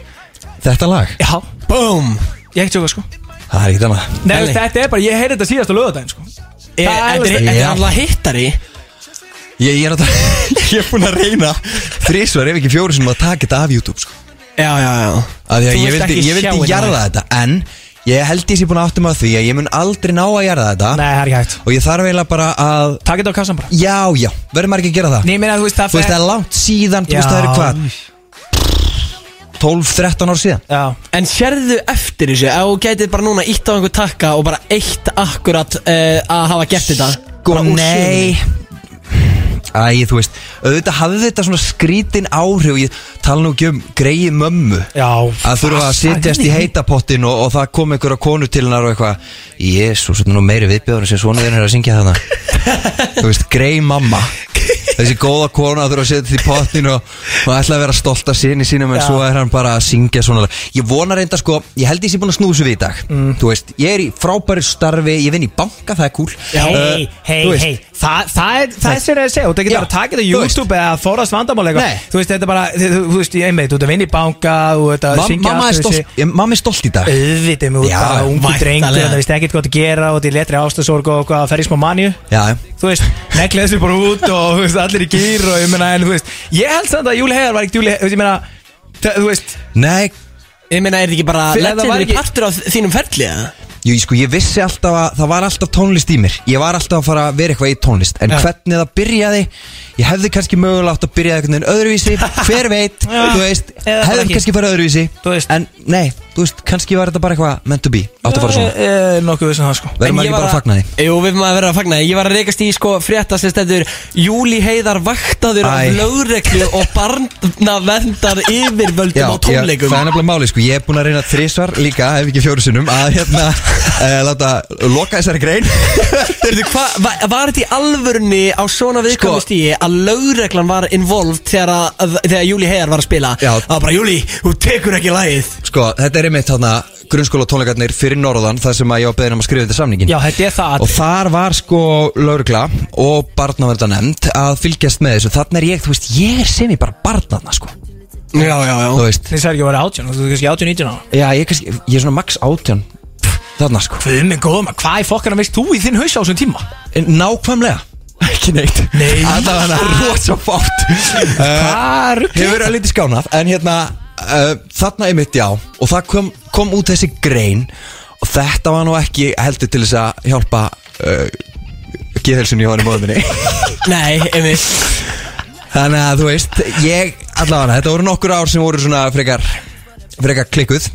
Speaker 4: Þetta lag
Speaker 2: Já,
Speaker 3: Búm
Speaker 2: ég ekki tjóka sko
Speaker 4: Það er ekkert annað
Speaker 2: Nei,
Speaker 3: Elli.
Speaker 2: veist, þetta er bara, ég heyrði þetta síðast á lögadaginn sko
Speaker 3: E-
Speaker 2: Það er
Speaker 3: Þetta er-
Speaker 2: alveg-
Speaker 3: þetta er
Speaker 4: Já.
Speaker 3: alltaf hittari
Speaker 4: Ég, ég er að Ég er búin að reyna Þrísvar ef ekki fjóri sem að taka þetta af YouTube sko.
Speaker 3: Já, já, já
Speaker 4: Af því að
Speaker 2: Þú
Speaker 4: ég
Speaker 2: vilt ekki
Speaker 4: vildi, ég
Speaker 2: sjá
Speaker 4: vildi
Speaker 2: þetta.
Speaker 4: jarða þetta En ég held ég sé búin að áttum að því að ég mun aldrei ná að jarða þetta
Speaker 2: Nei, það er ekki hægt
Speaker 4: Og ég þarf eiginlega bara að
Speaker 2: Takk þetta á kassan bara
Speaker 4: Já, já, verður maður ekki að gera það
Speaker 2: Nei, ég meina, þú veist, það
Speaker 4: Þú veist, það er langt síðan, þú veist, það eru hvað 12-13 ár síðan
Speaker 2: Já,
Speaker 3: En sérðu eftir þessu Ef þú gætið bara núna ítt á einhver takka Og bara eitt akkurat uh, að hafa gert þetta
Speaker 4: Sko, nei Æ, þú veist, auðvitað hafði þetta svona skrítin áhrif og ég tala nú ekki um greiði mömmu
Speaker 2: já
Speaker 4: að þurfa að sitjast í heitapottin og, og það kom einhverja konu til hennar og eitthvað Jésús, þetta er nú meiri viðbjöður sem svona þeir eru að syngja þarna Þú veist, grei mamma Þessi góða kona þurfa að setja þetta í pottin og, og ætla að vera stolt að sinni sínum en
Speaker 2: Já.
Speaker 4: svo er hann bara að syngja svona lag. Ég vona reynda sko, ég held ég sé búin að snúsu við í dag
Speaker 2: Mm.
Speaker 4: Þú veist, ég er í frábæri starfi, ég vinn í banka, það er cool
Speaker 2: Hei,
Speaker 4: Uh,
Speaker 2: hei,
Speaker 4: þú veist,
Speaker 2: hei Þa, Það er það er sér að segja Og það getur
Speaker 4: Já,
Speaker 2: bara að taka þetta
Speaker 4: þú veist.
Speaker 2: YouTube eða forðast vandamál
Speaker 4: Nei.
Speaker 2: eitthvað Þú veist, þetta er bara Þú þú- þú veist, ég einmitt Þú ert að vinna í banka Þú ert að
Speaker 4: Mam,
Speaker 2: syngja Eh.
Speaker 4: mamma, er
Speaker 2: allt
Speaker 4: stolt,
Speaker 2: þessi-
Speaker 4: ég, mamma er stolt í dag
Speaker 2: Auðvitað með út
Speaker 4: Já,
Speaker 2: bara ungu drengur
Speaker 3: væntanlega.
Speaker 2: Það veist ekkert hvað að gera og þetta er letri ástasorg og hvað að ferja í smá manju
Speaker 4: Já,
Speaker 2: þú veist, neglið þessu bara út og þú veist, allir í gýr og ég meina, en þú veist ég held samt að Júli Heiðar var ekkert Júli Heiðar, ég meina það- þú veist,
Speaker 4: nei,
Speaker 3: Ég meina, er þetta ekki bara
Speaker 2: Fyrir- það var
Speaker 3: Legendary
Speaker 2: ekki-
Speaker 3: partur á þínum ferli eða?
Speaker 4: jú, sko, ég vissi alltaf að það var alltaf tónlist í mér Ég var alltaf að fara að vera eitthvað í tónlist En
Speaker 2: Já.
Speaker 4: hvernig það byrjaði, ég hefði kannski mögulega átt að byrjaði einhvern veginn öðruvísi Hver veit,
Speaker 2: Já.
Speaker 4: þú veist,
Speaker 2: Eða bara
Speaker 4: hefði
Speaker 2: ekki.
Speaker 4: kannski farið öðruvísi
Speaker 2: Þú veist.
Speaker 4: En nei, þú veist, kannski var þetta bara eitthvað meant to be Átt að fara svona,
Speaker 2: e, e, nokkuð vissum það sko
Speaker 4: verður
Speaker 3: En ég
Speaker 4: maður ekki
Speaker 3: var
Speaker 4: bara að fagna því
Speaker 3: Jú, við maður að vera að fagna því Ég var að reykast í sko frétta sem stendur Júli Heiðar vaktaður
Speaker 4: Æ.
Speaker 3: af lögreglu og barnavendar yfirvöldum á
Speaker 4: ég,
Speaker 3: tónleikum
Speaker 4: það er nefnilega máli sko, ég er búin að reyna þrísvar líka, ef ekki fjóru sinnum Að hérna, uh, láta, loka þessari grein
Speaker 3: Heyrðu, hva, va, Var þetta í alvörni á svona viðkomu
Speaker 4: Sko-
Speaker 3: stíi að lögreglan var involved þegar, að, þegar Júli Heiðar var að spila
Speaker 4: Já.
Speaker 3: Það var bara Júli, þú tekur ekki lagið
Speaker 4: Sko, þetta er einmitt þarna grunnskóla tónleikarnir fyrir norðan þar sem að ég var beðin um að skrifa þetta samningin
Speaker 2: já, þetta er það
Speaker 4: Og þar var sko laurugla og barnaverða nefnd að fylgjast með þessu Þarna er ég, þú veist, ég er sem ég bara barnaðna sko
Speaker 3: Já, já, já
Speaker 4: Þú veist,
Speaker 2: þess að ekki að vera átján, þú veist kannski átján, nítján ára
Speaker 4: já, ég er kannski, ég er svona max átján Þarna sko
Speaker 2: Guð minn góður maður, hvað í fokkarna veist þú í þinn haus á þessum tíma?
Speaker 4: En Nákvæmlega Ekki neitt
Speaker 2: Nei.
Speaker 4: Alla hana rosa fátt uh,
Speaker 2: Hvað ruggl?
Speaker 4: Hefur verið að lítið eh, skánað En hérna, uh, þarna einmitt já Og það kom, kom út þessi grein og þetta var nú ekki heldur til þess að hjálpa uh, geðhelsunni hjá hann í móðminni
Speaker 3: Nei, einmitt
Speaker 4: þannig að þú veist ég, allavega, þetta voru nokkur ár sem voru svona frekar, frekar klikkuð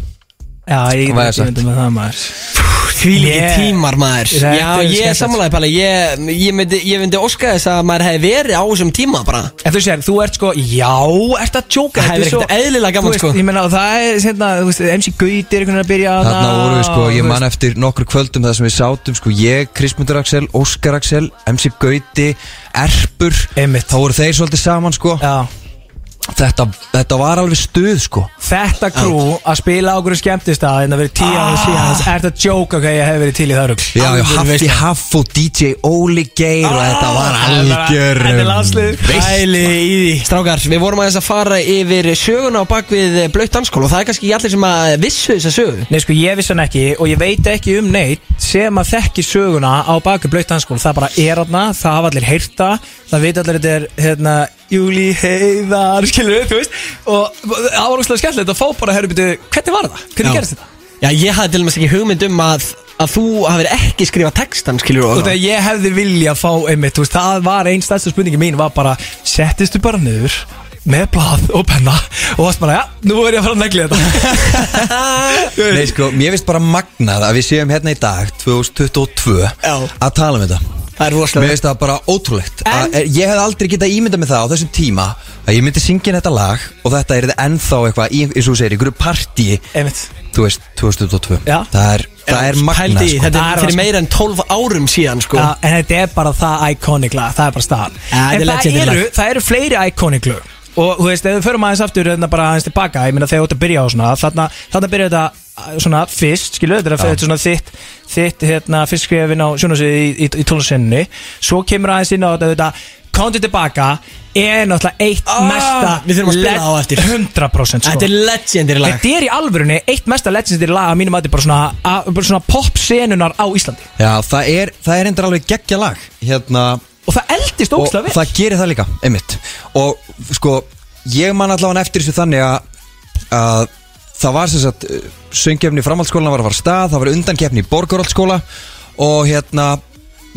Speaker 2: Já, ég get
Speaker 4: Hvað er
Speaker 2: ekki
Speaker 4: sagt?
Speaker 2: myndið með það maður
Speaker 3: Því líki
Speaker 2: Ég-
Speaker 3: tímar maður
Speaker 2: Þetta
Speaker 3: Já,
Speaker 2: er
Speaker 3: ég er
Speaker 2: skemmtilegt.
Speaker 3: sammálaði bara Ég, ég, myndi, ég myndi óska þess að maður hefði verið á þessum tíma bara
Speaker 2: En þú sér, þú ert sko, já, ert að tjóka
Speaker 3: Það hefði ekkert eðlilega gaman,
Speaker 2: veist,
Speaker 3: sko.
Speaker 2: Ég meina, og það er, hérna, þú veist, MC Gauti er einhvern veginn að byrja að
Speaker 4: Þarna voru við sko, ég man eftir nokkur kvöldum það sem við sátum sko, ég, Krismundur Axel, Óskar Axel, MC Gauti, Erpur
Speaker 2: Einmitt.
Speaker 4: Þá voru þeir svolítið saman sko
Speaker 2: Já,
Speaker 4: þetta, þetta var alveg stuð sko
Speaker 2: þetta krú að spila á okkur skemmtist að en að vera tíu ára síðan Er þetta tjóka hvað ég hef verið til í það rugl
Speaker 4: Ah. Já, já,
Speaker 3: Alvöru
Speaker 4: Hafti
Speaker 3: veisla.
Speaker 4: Haff og DJ Óli Geir og þetta var algjör um,
Speaker 2: Þetta er landslið
Speaker 3: Æli í því Strákar, við vorum aðeins að fara yfir söguna á bak við blöitt danskól og það er kannski ekki allir sem að vissu þessa sögu
Speaker 2: Nei sko, ég vissi hann ekki og ég veit ekki um neitt sem að þekki söguna á baku blöytanskól Það bara er hann, það hafa allir heyrta Það veit allir þetta er, hérna, Júli Heiðar, skilur við, þú veist Og það var úrslega skemmtilegt að fá bara, herru, byrju, hvernig var það? Hvernig
Speaker 3: Já.
Speaker 2: gerist þetta?
Speaker 3: Já, ég hafði til og með ekki hugmynd um að, að þú hafir ekki skrifað textan, skilur
Speaker 2: Og þegar ég hefði vilja að fá einmitt, þú veist, það var einn stærsta spurningi mín var bara, settistu bara niður með blað og penna og varst bara, já, nú er ég að fara að negli þetta
Speaker 4: Nei sko, mér finnst bara magnað að við séum hérna í dag 2022
Speaker 3: Já.
Speaker 4: að tala um þetta
Speaker 3: Það er
Speaker 4: Mér
Speaker 3: rosalega
Speaker 4: finnst það bara ótrúlegt
Speaker 2: En-
Speaker 4: að, eh, Ég hef aldrei getað ímyndað með það á þessum tíma að ég myndi syngja þetta lag og þetta er ennþá eitthvað, í- eins og þú segir, einhverju partíi
Speaker 2: Einmitt,
Speaker 4: þú veist, 2022
Speaker 2: Já.
Speaker 4: það er, það er magnað
Speaker 3: Pældi í,
Speaker 4: sko.
Speaker 2: Það
Speaker 3: Þetta
Speaker 2: er
Speaker 3: er fyrir
Speaker 2: rosalega.
Speaker 3: meira en 12 árum síðan, sko
Speaker 2: já, en þetta er bara það iconic lag, það er bara staðan
Speaker 3: Ja, þetta er
Speaker 2: En það
Speaker 3: legendary
Speaker 2: eru,
Speaker 3: lag.
Speaker 2: það eru fleiri iconic lög og þú veist, ef við förum aðeins aftur hérna bara aðeins tilbaka, ég meina þegar þú ert að byrja á svona þarna, þarna byrja þetta uh, svona fyrst skilu, þetta er að- þetta er svona þitt þitt hérna fyrst skrefin á sjónasið í, í, í tónlistinni, svo kemur aðeins inn á þetta, þetta komdu tilbaka er náttúrulega eitt
Speaker 3: Ah, við
Speaker 2: mesta
Speaker 3: þurfum að spila
Speaker 2: le-
Speaker 3: það á eftir.
Speaker 2: 100% sko.
Speaker 3: Þetta er legendir lag
Speaker 2: Þetta er í alvörunni eitt mesta legendary lag að mínum að þetta er bara svona, að, bara svona pop senunar á Íslandi
Speaker 4: Já, það er, það er endur alveg geggja lag hérna,
Speaker 2: og það eldist
Speaker 4: og
Speaker 2: ógstlega vel
Speaker 4: það gerir það líka einmitt, og sko ég man allavega eftir þessu þannig að að það var sem sagt eh, söngjefni framhaldsskólan var að fara af stað það var undankefni í borgarhaldsskóla og hérna,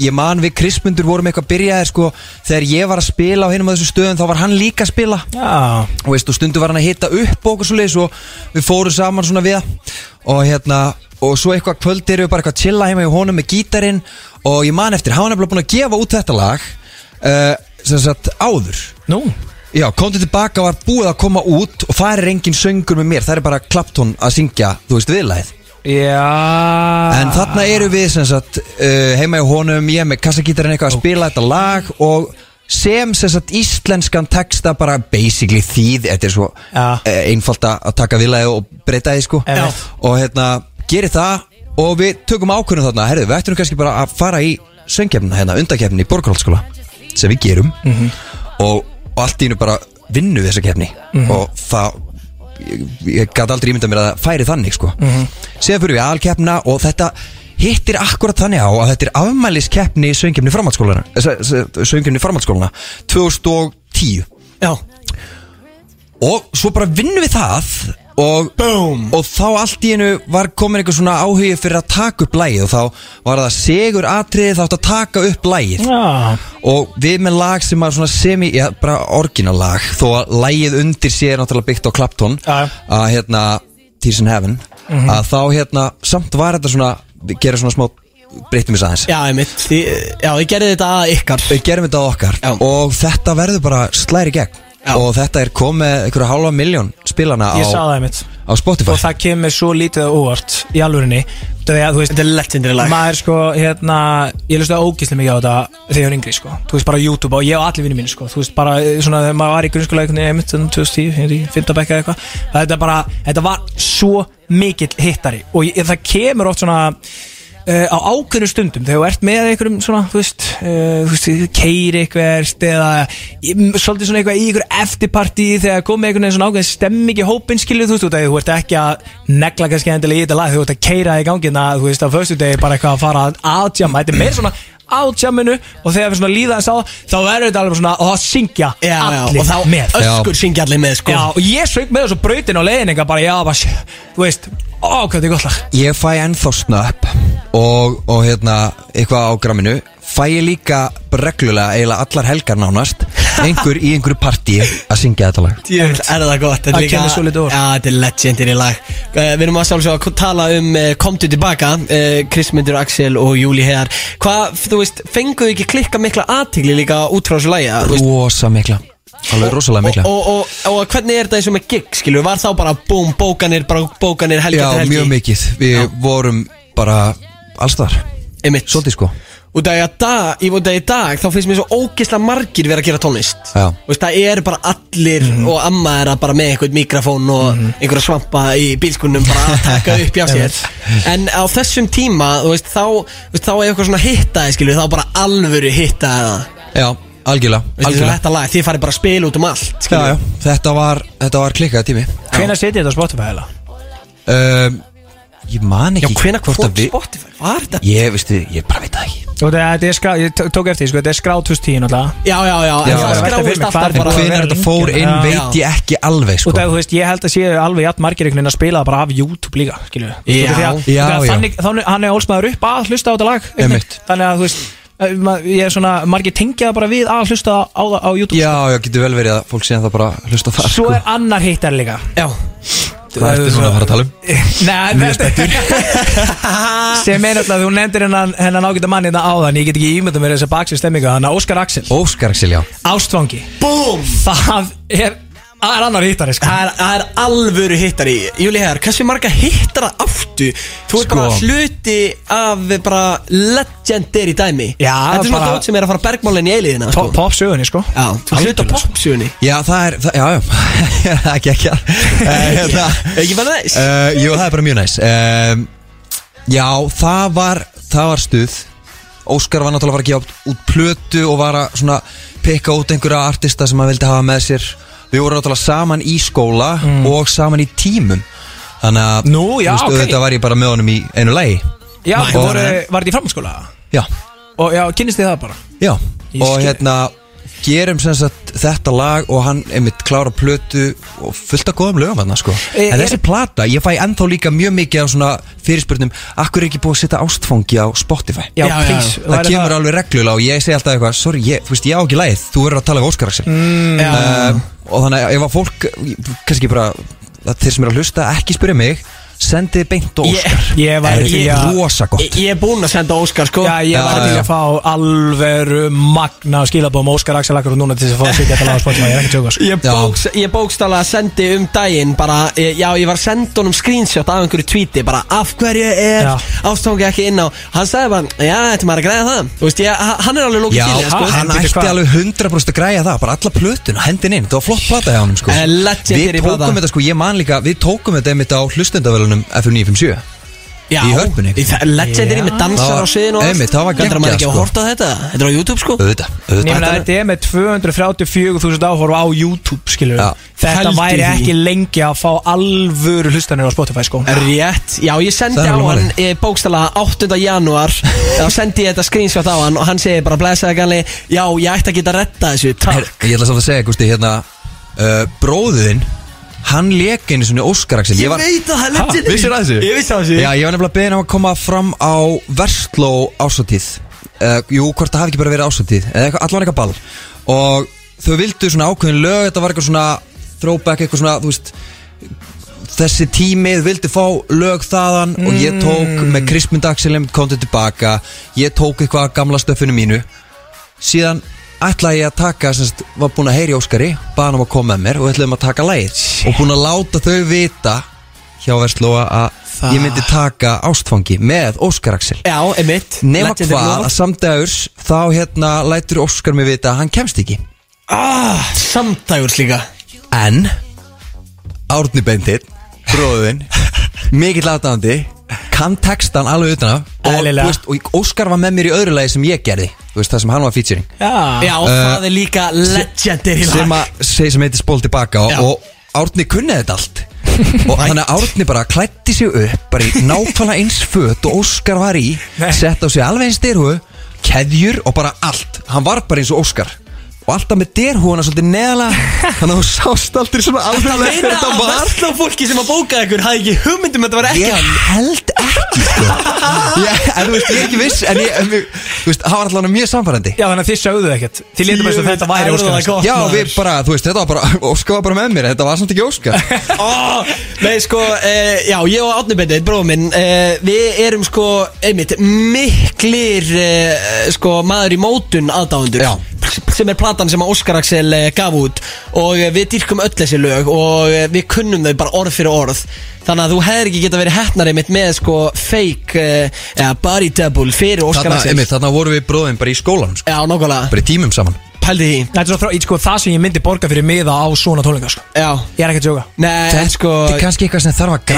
Speaker 4: ég man við Krismundur vorum eitthvað byrjaðir sko þegar ég var að spila á hinum að þessu stöðum þá var hann líka að spila
Speaker 2: Já,
Speaker 4: og, veist, og stundu var hann að hitta upp og okkur svo leis og við fórum saman svona við það. og hérna og svo eitthvað kvöld erum við bara eitthvað að chilla heima í honum með gítarinn og ég man eftir, hann er bara búin að gefa út þetta lag uh, sem sagt áður
Speaker 2: nú
Speaker 4: Já, komdu tilbaka var búið að koma út og það er engin söngur með mér, það er bara klaptón að syngja, þú veist, viðlæð
Speaker 2: Já
Speaker 4: En þarna eru við sem sagt uh, heima í honum, ég með kassagítarinn eitthvað að spila þetta lag og sem sem sagt íslenskan texta bara basically þýð, þetta er svo
Speaker 2: Já.
Speaker 4: uh, einfalt að- að taka viljaði og breyta því sko
Speaker 2: Já.
Speaker 4: og hérna gerir það og við tökum ákvörðum þarna, herðu, við ættum nú kannski bara að fara í söngkefnina hérna, undakefnina í borgarhaldsskóla sem við gerum og, og allt í hennu bara vinnu við þessa kefni og það ég, ég gæti aldrei ímyndað mér að það færi þannig sko. mm -hmm. síðan fyrir við alkeppna og þetta hittir akkurat þannig á að þetta er afmæliskeppni söngjumni framhaldsskólana söngjumni framhaldsskólana 2010
Speaker 3: Já
Speaker 4: og svo bara vinnum við það og,
Speaker 3: Boom.
Speaker 4: og þá allt í einu var komin einhver svona áhugi fyrir að taka upp lægið og þá var það segur atriði þátt að taka upp lægið
Speaker 2: Já,
Speaker 4: og við með lag sem var svona semi, já, bara orginal lag þó að lagið undir sé er náttúrulega byggt á Clapton
Speaker 2: Já.
Speaker 4: að hérna Tears in Heaven
Speaker 3: Mhm.
Speaker 4: að þá hérna, samt var þetta svona við gerum svona smá, breytum þess aðeins
Speaker 3: Já, einmitt Því, Já, ég gerði þetta að ykkar
Speaker 4: við gerum þetta á okkar
Speaker 3: Já.
Speaker 4: og þetta verður bara slæri gegn
Speaker 3: Já.
Speaker 4: og þetta er komið einhverja hálfa miljón spilana
Speaker 2: ég sá
Speaker 4: á,
Speaker 2: það einmitt
Speaker 4: á Spotify
Speaker 2: Og það kemur svo lítið á óvart í alvörinni Þegar þú veist
Speaker 3: Þetta er legendir lag
Speaker 2: Maður sko, hérna, ég lusti ógislega mikið á þetta þegar ég var yngri, sko Þú veist, bara á YouTube og ég og allir vinni mínu, sko Þú veist, bara, eh, svona, þegar maður var í grunnskóla einhvern veginn einmitt, þannig 2010, ég veit ekki, 15 bekka eða eitthvað Þetta bara, þetta var svo mikill hittari Og ég, það kemur oft svona Uh, á ákveðnum stundum þegar þú ert með einhverjum svona, þú veist, uh, þú veist keiri eitthvert eða í- m- svolítið svona eitthvað í einhverju eftirparti þegar komið einhvern veginn svona ákveðin stemming í hópin skilur þú veist, út af því þú ert ekki að negla kannski endilega í þetta lag, þú ert að keira í gangina þú veist, á föstudegi bara eitthvað að fara að aðjama, þetta er meira svona á tjamminu og þegar við svona líða eins á það þá verður þetta alveg svona og það syngja
Speaker 3: já, já,
Speaker 2: allir
Speaker 3: og þá
Speaker 2: með
Speaker 3: öskur syngja allir með sko
Speaker 2: Já, og ég sög með þessu brautin á leiðin eitthvað bara, já, bara, sjö, þú veist, ó, hvað þetta er gott lag
Speaker 4: Ég fæ ennþá snöpp og, og hérna, eitthvað á gramminu Fæ ég líka bara reglulega, eiginlega allar helgar nánast Einhver í einhverju partí að syngja þetta lag
Speaker 3: Djöfull, Er það gott, þetta
Speaker 2: Það
Speaker 3: er líka
Speaker 2: kemur svolítið úr.
Speaker 3: Já, þetta er legendary lag uh, Við erum að sjálfsög að tala um uh, Komdu tilbaka, uh, Krismyndur, Axel og Júli Heðar Hvað, þú veist, fenguðu ekki klikka mikla aðtigli líka út frá þessu lagi að, þú veist,
Speaker 4: Rosa mikla Alveg rosalega mikla
Speaker 3: og, og, og, og hvernig er þetta eins og með gig, skilur Var þá bara búm, bókanir, bara bókanir, helgi
Speaker 4: Já,
Speaker 3: eftir helgi
Speaker 4: mjög mikið Við vorum bara allstar
Speaker 3: Einmitt.
Speaker 4: Svolítið sko
Speaker 3: Út af því að dag, í út af í dag, þá finnst mér svo ógeðslega margir vera að gera tónlist
Speaker 4: Já. Mhm.
Speaker 3: Þú veist, það er bara allir og amma er að bara með einhvern mikrofón og einhverja svampa í bílskunnum bara að taka upp hjá sér En á þessum tíma, þú veist, þá, þú veist, þá er eitthvað svona hittaði, skilju, þá bara alvöru hittaði það
Speaker 4: Já, algjörlega,
Speaker 3: Þú veist,
Speaker 4: algjörlega.
Speaker 3: þetta lag, þið farið bara að spila út um allt,
Speaker 4: Já, já,
Speaker 3: skilju
Speaker 4: þetta var, þetta var klikkað tími
Speaker 2: Hvenær setja þetta á Spotify heila?
Speaker 4: um, Ég man
Speaker 3: Já,
Speaker 4: ekki
Speaker 3: hvenær
Speaker 4: hvort
Speaker 3: kom
Speaker 4: að við
Speaker 3: Spotify? Var þetta?
Speaker 4: Ég, veistu, ég bara veit það ekki
Speaker 2: Og þetta er skrá, ég tó- tók eftir, því, sko, þetta er skrá 2010 náttúrulega
Speaker 3: Já, já, já,
Speaker 4: Já,
Speaker 3: en það
Speaker 4: já.
Speaker 3: skráist alltaf
Speaker 2: Hvenær
Speaker 3: bara
Speaker 2: að vera
Speaker 4: Hvenær þetta fór
Speaker 2: lengi,
Speaker 4: inn
Speaker 2: já.
Speaker 4: veit ég ekki alveg
Speaker 2: Og
Speaker 4: sko
Speaker 2: það, þú veist, ég held að séu alveg jafn margir einhvern veginn að spila það bara af YouTube líka, skilju
Speaker 3: Já,
Speaker 4: já, já.
Speaker 2: Þannig, þannig, hann er ólsmaður upp að hlusta á þetta lag einmitt.
Speaker 4: Einmitt.
Speaker 2: Þannig að, þú veist, eh, ma- ég er svona, margir tengja það bara við að hlusta á það á YouTube
Speaker 4: Já, já, getur vel verið að fólk sé það bara að hlusta á það
Speaker 2: Svo
Speaker 4: sko
Speaker 2: er annar hittar líka
Speaker 3: Já,
Speaker 4: Hvað ertu núna að fara að tala um?
Speaker 2: Nei, þetta Sem er náttúrulega, þú nefndir hennan, hennan ágæta mann hérna áðan Ég get ekki ímynda mér þessa baksins stemmingu Þannig að Óskar Axel,
Speaker 4: Óskar Axel, já
Speaker 2: ástfangi
Speaker 3: búm
Speaker 2: Það er, það er annar hittari sko.
Speaker 3: Það er, það er alvöru hittari Júli Heðar, hversu marga hittara áttu? Þú ert
Speaker 4: Sko.
Speaker 3: bara hluti af bara legendary dæmi
Speaker 2: Já,
Speaker 3: Þetta er svona
Speaker 2: bara-
Speaker 3: dót sem er að fara bergmálinn í eiliðina sko.
Speaker 2: Pop sögunni sko
Speaker 3: Já, sko. þú hluti á popsugunni
Speaker 4: Já, það er, það, já, já Það er ekki ekki að Eh, hérna,
Speaker 3: Ekki bara næs
Speaker 4: eh, Jú, það er bara mjög næs um, Já, það var, það var stuð Óskar var náttúrulega að fara að gefa út- út plötu og var að svona pikka út einhverja artista sem hann vildi hafa með sér Við vorum náttúrulega saman í skóla og saman í tímum Þannig að,
Speaker 2: Mm. Nú, já, ok.
Speaker 4: auðvitað var ég bara með honum í einu lagi
Speaker 2: Já,
Speaker 3: Mæ,
Speaker 2: og
Speaker 3: það
Speaker 2: voru,
Speaker 3: er-
Speaker 2: var þetta í framhanskóla?
Speaker 4: Já,
Speaker 2: Og já, kynnist þið það bara
Speaker 4: Já,
Speaker 2: Ég
Speaker 4: og
Speaker 2: skil.
Speaker 4: hérna gerum sem sagt þetta lag og hann einmitt klára plötu og fullt af góðum lögum hann sko
Speaker 2: E-
Speaker 4: en
Speaker 2: er-
Speaker 4: þessi plata, ég fæ ennþá líka mjög mikið af svona fyrirspurnum, akkur er ekki búið að setja ástfangi á Spotify
Speaker 2: Já,
Speaker 3: Já, já,
Speaker 2: please
Speaker 3: já.
Speaker 4: það
Speaker 2: væri
Speaker 4: kemur alveg reglulega og ég segi alltaf eitthvað sorry, ég, þú veist, ég á ekki lagið, þú verður að tala við Óskar Axel mm, og þannig að ef að fólk kannski bara, að þeir sem eru að hlusta ekki spyrja mig, sendið beint á
Speaker 3: Ég-
Speaker 4: Óskar
Speaker 2: ég væri
Speaker 4: Er
Speaker 2: til í að-
Speaker 4: rosa
Speaker 3: Ég,
Speaker 4: gott
Speaker 3: ég er búinn að senda Óskar sko
Speaker 2: Já, ég
Speaker 4: Já,
Speaker 2: var
Speaker 4: já.
Speaker 2: til að fá alveru magna skilabóðum Óskar Axel Akkur og núna til þess að fá að sitja þetta lag á Spotify, ég er ekki tjóka sko.
Speaker 3: Ég, bóks, ég bókstala að sendi um daginn bara, eh, já ég var að senda honum screenshot af einhverju tweeti, bara af hverju er
Speaker 2: Já.
Speaker 3: ástangi ekki inn á hann sagði bara, já þetta er maður að græða það þú veist, ég, hann er alveg lókið
Speaker 4: Já,
Speaker 3: til þér,
Speaker 4: sko,
Speaker 2: ha,
Speaker 4: hann
Speaker 2: en bíddu,
Speaker 4: ætti
Speaker 2: hvað?
Speaker 4: alveg 100% að græja það bara alla plötuna, hendin inn, þetta var flott plata hjá honum sko.
Speaker 3: Eh, legendary
Speaker 4: Við tókum
Speaker 3: plata.
Speaker 4: þetta, sko, ég man líka Við tókum þetta einmitt á hlustendavölunum F957
Speaker 3: Já,
Speaker 4: í Hörpunni. sko.
Speaker 3: í það- Legendary
Speaker 2: Já.
Speaker 3: með dansar á
Speaker 4: Það var-
Speaker 3: sviðinu og allt.
Speaker 4: einmitt, það var
Speaker 3: Heldur að maður
Speaker 4: geggjað,
Speaker 3: ekki að
Speaker 4: sko.
Speaker 3: horta þetta Þetta er á YouTube sko
Speaker 4: Auðvitað,
Speaker 2: Ég meina
Speaker 4: auðvitað
Speaker 2: þetta er með 234.000 áhorfa á YouTube skilur
Speaker 4: Já.
Speaker 2: Þetta
Speaker 3: Pældu
Speaker 2: væri
Speaker 3: því.
Speaker 2: ekki lengi að fá alvöru hlustanir á Spotify sko
Speaker 3: Rétt, já ég sendi
Speaker 4: Það er
Speaker 3: á
Speaker 4: alveg
Speaker 3: hann
Speaker 4: málið.
Speaker 3: e, bókstala 8. januar þá sendi ég þetta screenshot á hann og hann segi bara blæsaði ganli Já, ég ætti að geta að retta þessu,
Speaker 4: Her,
Speaker 3: takk
Speaker 4: Ég ætla samt að segja, Gusti, hérna uh, Bróðin, hann leik einu svona Óskar Axel
Speaker 3: Ég veit að það er legendary
Speaker 4: Vissir það þessu?
Speaker 3: Ég vissi það þessu
Speaker 4: Já, ég var nefnilega beðin á að koma fram á Versló ásatíð uh, Jú, hvort það hafi ekki bara verið ásatíð Eða eitthvað, allan eitthvað ball Og þau vildu svona ákveðin lög Þetta var eitthvað svona throwback, eitthvað svona, þú veist Þessi tímið vildi fá lög þaðan Og ég tók með Krispin Daxilum Kom til tilbaka Ég tók eitthvað af gamla stöffinu mínu Síðan ætlaði ég að taka semst, Var búin að heyri Óskari Baðan um að koma með mér og ætlaðum að taka lægir Og búin að láta þau vita hjá Vestlóa að ég myndi taka ástfangi með Óskar Axel
Speaker 3: Já, emitt
Speaker 4: nema hvað að samdægurs þá hérna lætur Óskar mig vita að hann kemst ekki
Speaker 3: ah, Samdægurs líka
Speaker 4: en Árni Bendit, bróðin mikill aðdæðandi kann textan alveg utan af og,
Speaker 2: Eðlilega.
Speaker 4: þú veist, og Óskar var með mér í öðru lagi sem ég gerði þú veist það sem hann var featuring
Speaker 2: Já,
Speaker 3: Já, það er líka legendary
Speaker 4: Ah. Uh, sem
Speaker 3: lag.
Speaker 4: að segja sem heitir spól tilbaka og,
Speaker 3: Já.
Speaker 4: og Árni kunni þetta allt og þannig að Árni bara klætti sig upp bara í nákvæmlega eins föt og Óskar var í
Speaker 2: Nei.
Speaker 4: sett á sig alveg eins styrhu keðjur og bara allt Hann var bara eins og Óskar Og alltaf með derhúana svolítið neðalega Þannig að þú sást aldrei svona alveg hver
Speaker 3: Meina
Speaker 4: þetta
Speaker 3: að
Speaker 4: var
Speaker 3: versla fólki sem að bóka ykkur hafði ekki hugmyndum að þetta var ekki
Speaker 4: Ég held ekki sko. ég, En þú veist, ég er ekki viss En, ég, en ég, þú veist, hann var alltaf mjög samfærandi
Speaker 2: Já, þannig að þið sögðu ekkert Þið lítum eins og þetta væri
Speaker 3: Djöfull,
Speaker 2: óskar
Speaker 3: er það gott.
Speaker 4: Já,
Speaker 3: maður.
Speaker 4: við bara, þú veist, þetta var bara Óskar var bara með mér, þetta var samt ekki Óskar
Speaker 3: Ó, Nei sko, e, já, ég og Átni Bendit, bróðum minn e, Við erum sko, einmitt, miklir e, sko, maður í mótun aðdáðundur
Speaker 4: Já.
Speaker 3: Sem er platan sem að Óskar Axel e, gaf út Og e, við dýrkum öll þessi lög Og e, við kunnum þau bara orð fyrir orð Þannig að þú hefðir ekki geta verið hettnar einmitt með sko fake e, ja, body double fyrir Óskar
Speaker 4: Þarna,
Speaker 3: Axel
Speaker 4: einmitt, þarna vorum við bróðin bara í skólanum sko.
Speaker 3: Já, nákvæmlega,
Speaker 4: Bara í tímum saman
Speaker 3: pældi því
Speaker 2: Þetta er svo frá, í- sko, það sem ég myndi borga fyrir miða á svona tónleika sko.
Speaker 3: Já,
Speaker 2: Ég er ekki að sjóka
Speaker 3: nei, en sko
Speaker 4: Þetta er kannski eitthvað sem þarf að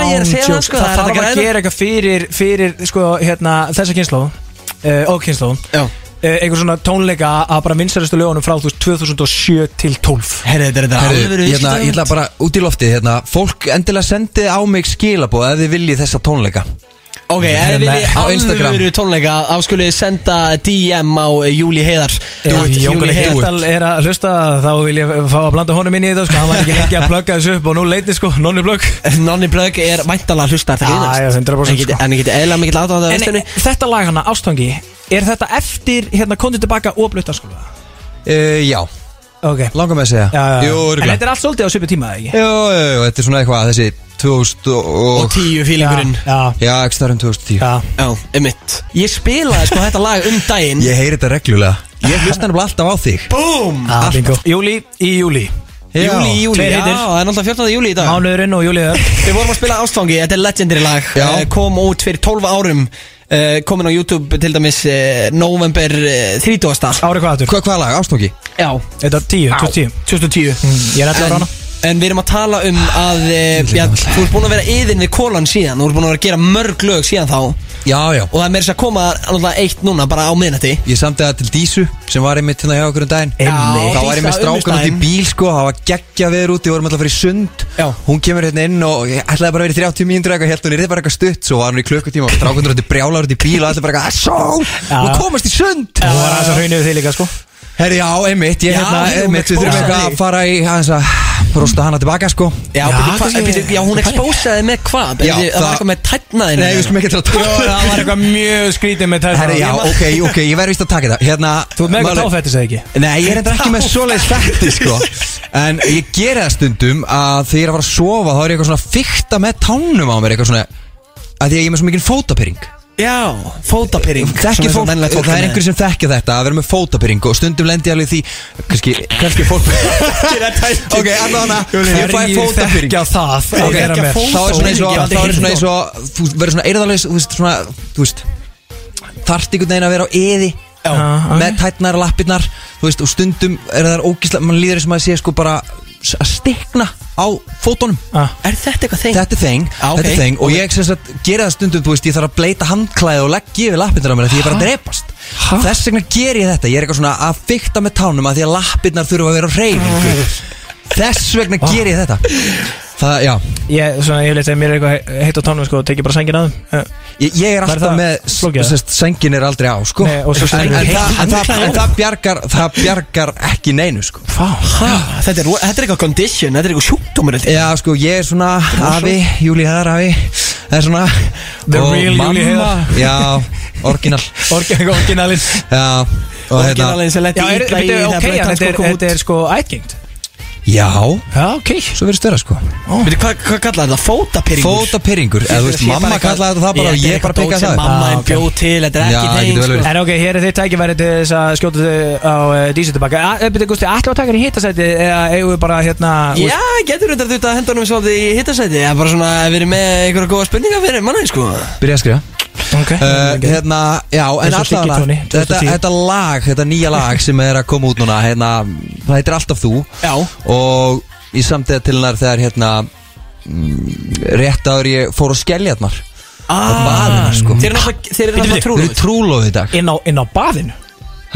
Speaker 3: Já,
Speaker 4: græja
Speaker 3: ég er að segja það sko
Speaker 2: Það
Speaker 3: er
Speaker 2: þarf
Speaker 3: hægt
Speaker 2: að
Speaker 3: græða.
Speaker 2: gera eitthvað fyrir, fyrir sko, hérna, þessa kynnslóð uh, og kynnslóðum uh,
Speaker 3: Já
Speaker 2: einhver svona tónleika að bara vinsælustu lögunum frá þú veist, 2007 til 12
Speaker 3: Herri, þetta er þetta
Speaker 4: Herru,
Speaker 3: alvöru
Speaker 4: ég ætla- hérna, ég ætla bara út í loftið hérna. Fólk endilega sendi á mig skilabóð ef þið viljið þessa tónleika
Speaker 3: Ok, ef
Speaker 4: Hérna,
Speaker 3: við
Speaker 4: á Instagram.
Speaker 3: alvöru tónleika þá skulum við senda DM á eh, Júli Heiðar
Speaker 2: Ef
Speaker 3: Júlí
Speaker 2: Jón Gunnar
Speaker 3: Heiðar.
Speaker 2: Heyerdahl er að hlusta þá vil ég fá að blanda honum inn í þetta sko. hann var ekki lengi að plugga þessu upp og nú leiti sko, nonni plugg
Speaker 3: Nonni Brögg er væntalega hlusta
Speaker 2: Já, já, 100%
Speaker 3: sko.
Speaker 2: sko.
Speaker 3: En ég geti eðla mikill aðdáðan að
Speaker 2: En
Speaker 3: vestunni
Speaker 2: þetta lag hana, Ástangi er þetta eftir, hérna, kontið tilbaka og blutta sko
Speaker 4: uh, Já,
Speaker 2: Ok,
Speaker 4: langar með að segja
Speaker 2: já, já.
Speaker 4: Jú,
Speaker 2: En
Speaker 4: örugglega.
Speaker 2: þetta er allt svolítið á svipu tíma, eða ekki?
Speaker 4: Jú, jú, jú, þetta er svona eitthvað þessi 2000
Speaker 3: Og
Speaker 4: og
Speaker 3: tíu fílingurinn
Speaker 2: Já,
Speaker 4: Já, ekki starf um 2010
Speaker 2: já,
Speaker 3: Já, emitt Ég spilaði sko þetta lag um daginn
Speaker 4: Ég heyri þetta reglulega Ég hlusta nefnilega alltaf á þig
Speaker 3: Búm!
Speaker 2: já, bingo Júli í júli
Speaker 3: Júli, júli,
Speaker 2: Tveir
Speaker 3: já,
Speaker 2: hittir.
Speaker 3: það er náttúrulega 14. júli í dag
Speaker 2: Mánuðurinn og júli er
Speaker 3: Við vorum að spila ástfangi, þetta er legendary lag
Speaker 4: Já.
Speaker 3: Eh, Kom út fyrir 12 árum uh, Komin á YouTube til dæmis uh, November uh, 30.
Speaker 2: Ári hvað aftur?
Speaker 4: Hva, Hvað lag, ástóki?
Speaker 3: Já,
Speaker 2: Þetta er 10, 2010
Speaker 3: 2010
Speaker 2: Mm, Ég er 11 ára
Speaker 3: en,
Speaker 2: hana
Speaker 3: en við erum að tala um að e, já, Þú ert búin að vera yðin við kólan síðan Þú ert búin að vera að gera mörg lög síðan þá Og
Speaker 4: Já, já
Speaker 3: það er meira þess að koma alveg eitt núna bara á miðnætti
Speaker 4: Ég samti það til Dísu sem var einmitt hérna hjá okkur um daginn
Speaker 2: Einmitt.
Speaker 4: Þá var ég með
Speaker 3: Dísa
Speaker 4: strákan út í
Speaker 3: unnustæðin.
Speaker 4: bíl sko, það var geggja veður úti, við vorum alltaf að fara í sund
Speaker 3: Já.
Speaker 4: Hún kemur hérna inn og ég ætlaði bara að vera í 30 mínútur eitthvað, held hún er bara eitthvað stutt Svo var hún í klukkutíma og strákundur átti brjálar út í bíl og allir bara eitthvað, sól,
Speaker 2: Já.
Speaker 4: hún komast í sund
Speaker 2: Það var aðeins að hrauninu þig líka sko
Speaker 4: Herri, já, einmitt, ég
Speaker 3: Já,
Speaker 4: hérna,
Speaker 3: hún
Speaker 4: einmitt, við þurfum
Speaker 3: exposaði
Speaker 4: eitthvað
Speaker 3: þig.
Speaker 4: að fara í aðeins að rosta hana tilbaka sko
Speaker 3: Já,
Speaker 2: Já,
Speaker 3: byrju, hva,
Speaker 2: kannski-
Speaker 3: byrju, já hún expósaði með hvað já,
Speaker 4: Já,
Speaker 3: Það var
Speaker 4: það-
Speaker 3: eitthvað með tætnaðinu
Speaker 4: Nei, við skulum ekki til að
Speaker 2: Það var eitthvað mjög skrítið með tætt
Speaker 4: Herri, já, ok, ok, ég verður vist að taka þetta Hérna,
Speaker 2: Þú ert með eitthvað
Speaker 4: málið-
Speaker 2: táfættis eða ekki?
Speaker 4: Nei, ég er reyndar ekki með svoleiðis fætti, sko En ég gera það stundum að þegar ég er að fara að sofa Þá er ég eitthvað svona að fykta með tánum á mér Eitthvað svona að því að ég er með svo mikinn fótapyrring
Speaker 3: Já, fótapyrring
Speaker 4: Þekkir fólk, það er einhver sem þekkja þetta Að vera með fótapyrring og stundum lendi ég alveg í því Kanski, kannski fólk Ok, allavega Ég fæ fótapyrring
Speaker 2: Þekkja það
Speaker 4: Ok,
Speaker 2: að vera
Speaker 4: þá er
Speaker 2: með.
Speaker 4: svona eins og
Speaker 3: Ég hef aldrei
Speaker 4: þá er
Speaker 3: heyrt
Speaker 4: svona eins og þú verður svona eyrðalegs þú veist svona þú veist þarft einhvern veginn að vera á eði
Speaker 3: Já.
Speaker 2: Já,
Speaker 4: með tætnar og lappirnar þú veist og stundum er það ógísla mann líður sem að sé sko bara s- að stikna á fótunum
Speaker 2: Ah.
Speaker 3: Er þetta eitthvað þeim?
Speaker 4: þetta er þeng
Speaker 3: Já, ok.
Speaker 4: þetta er þeng og ég sem sagt gera það stundum þú veist ég þarf að bleita handklæði og leggja yfir lappirnar á mér af því ég er bara að drepast þess vegna ger ég þetta ég er eitthvað svona að fykta með tánum að því að lappirnar þurfa að vera á reyningu
Speaker 3: Ah.
Speaker 4: þess vegna ger ég þetta það já
Speaker 2: Ég, svona, ég vil eitthvað, mér er eitthvað heitt á tánum sko og tekið bara sængin að þeim Eh,
Speaker 4: Ég, ég er
Speaker 2: Var
Speaker 4: alltaf
Speaker 2: það
Speaker 4: með,
Speaker 2: flókið?
Speaker 4: sérst, sængin er aldrei á, sko
Speaker 2: Nei, og svo
Speaker 4: en, en,
Speaker 2: stendur-
Speaker 4: það, en, það,
Speaker 3: Handklæði
Speaker 4: en það bjargar, það bjargar ekki neinu, sko
Speaker 2: Vá
Speaker 3: Ha, þetta, er, ro- þetta er eitthvað condition, þetta er eitthvað sjúkdómur held ég.
Speaker 4: Já, sko, ég er svona afi, Júli Heðar afi Það er svona
Speaker 2: The
Speaker 4: og
Speaker 2: real
Speaker 4: mamma,
Speaker 2: Júlí Heiðar.
Speaker 4: Já, orginal
Speaker 2: Orginalinn
Speaker 4: Já, og
Speaker 3: Orginalinn
Speaker 4: hérna
Speaker 3: sem lenti
Speaker 2: Já, er,
Speaker 3: illa í
Speaker 2: byrju,
Speaker 3: þegar
Speaker 2: ok,
Speaker 3: blautan
Speaker 2: en þetta
Speaker 3: sko
Speaker 2: er,
Speaker 3: kom út.
Speaker 2: þetta er sko ætgengt
Speaker 4: Já,
Speaker 2: Já, ok
Speaker 4: svo verður störa, sko
Speaker 3: Veitu, hvað hvað kallaði þetta? Fótapyrringur?
Speaker 4: Fótapyrringur, eða þú veist, mamma kallaði þetta það bara og ég bara pekkaði það upp.
Speaker 3: Mamma
Speaker 2: Ah,
Speaker 3: en
Speaker 2: ok.
Speaker 3: bjóð til, þetta er
Speaker 4: Já, það
Speaker 3: ekki sko.
Speaker 4: getur vel
Speaker 3: þeim
Speaker 4: verið.
Speaker 2: En ok, hér er þitt tækifæri til þess að skjóta þau á uh, dísu tilbaka Byrju, Gusti, ætlum við að taka hér í hittasæti eða eigum við bara hérna þú
Speaker 3: Já, getur þetta þetta að henda honum svolítið í hittasæti Já, bara svona að vera með einhverja góða spurninga fyrir manni, sko
Speaker 4: Byrja að skrifa
Speaker 2: veist, Ok
Speaker 4: Uh, hérna, já, en
Speaker 2: Eins og Siggi
Speaker 4: allavega
Speaker 2: Tóni,
Speaker 4: þetta,
Speaker 2: 2010.
Speaker 4: þetta lag, þetta nýja lag sem er að koma út núna hérna, það heitir Alltaf þú
Speaker 3: Já.
Speaker 4: og ég samtiða til hennar þegar hérna mm, rétt áður ég fór að skellja hennar
Speaker 3: Ah, sko Þeir eru náttúrulega- þeir eru
Speaker 2: Bíddu,
Speaker 3: náttúrulega
Speaker 4: Við
Speaker 3: trúlóð
Speaker 4: erum trúlóð í dag
Speaker 2: Inn á, inn á baðinu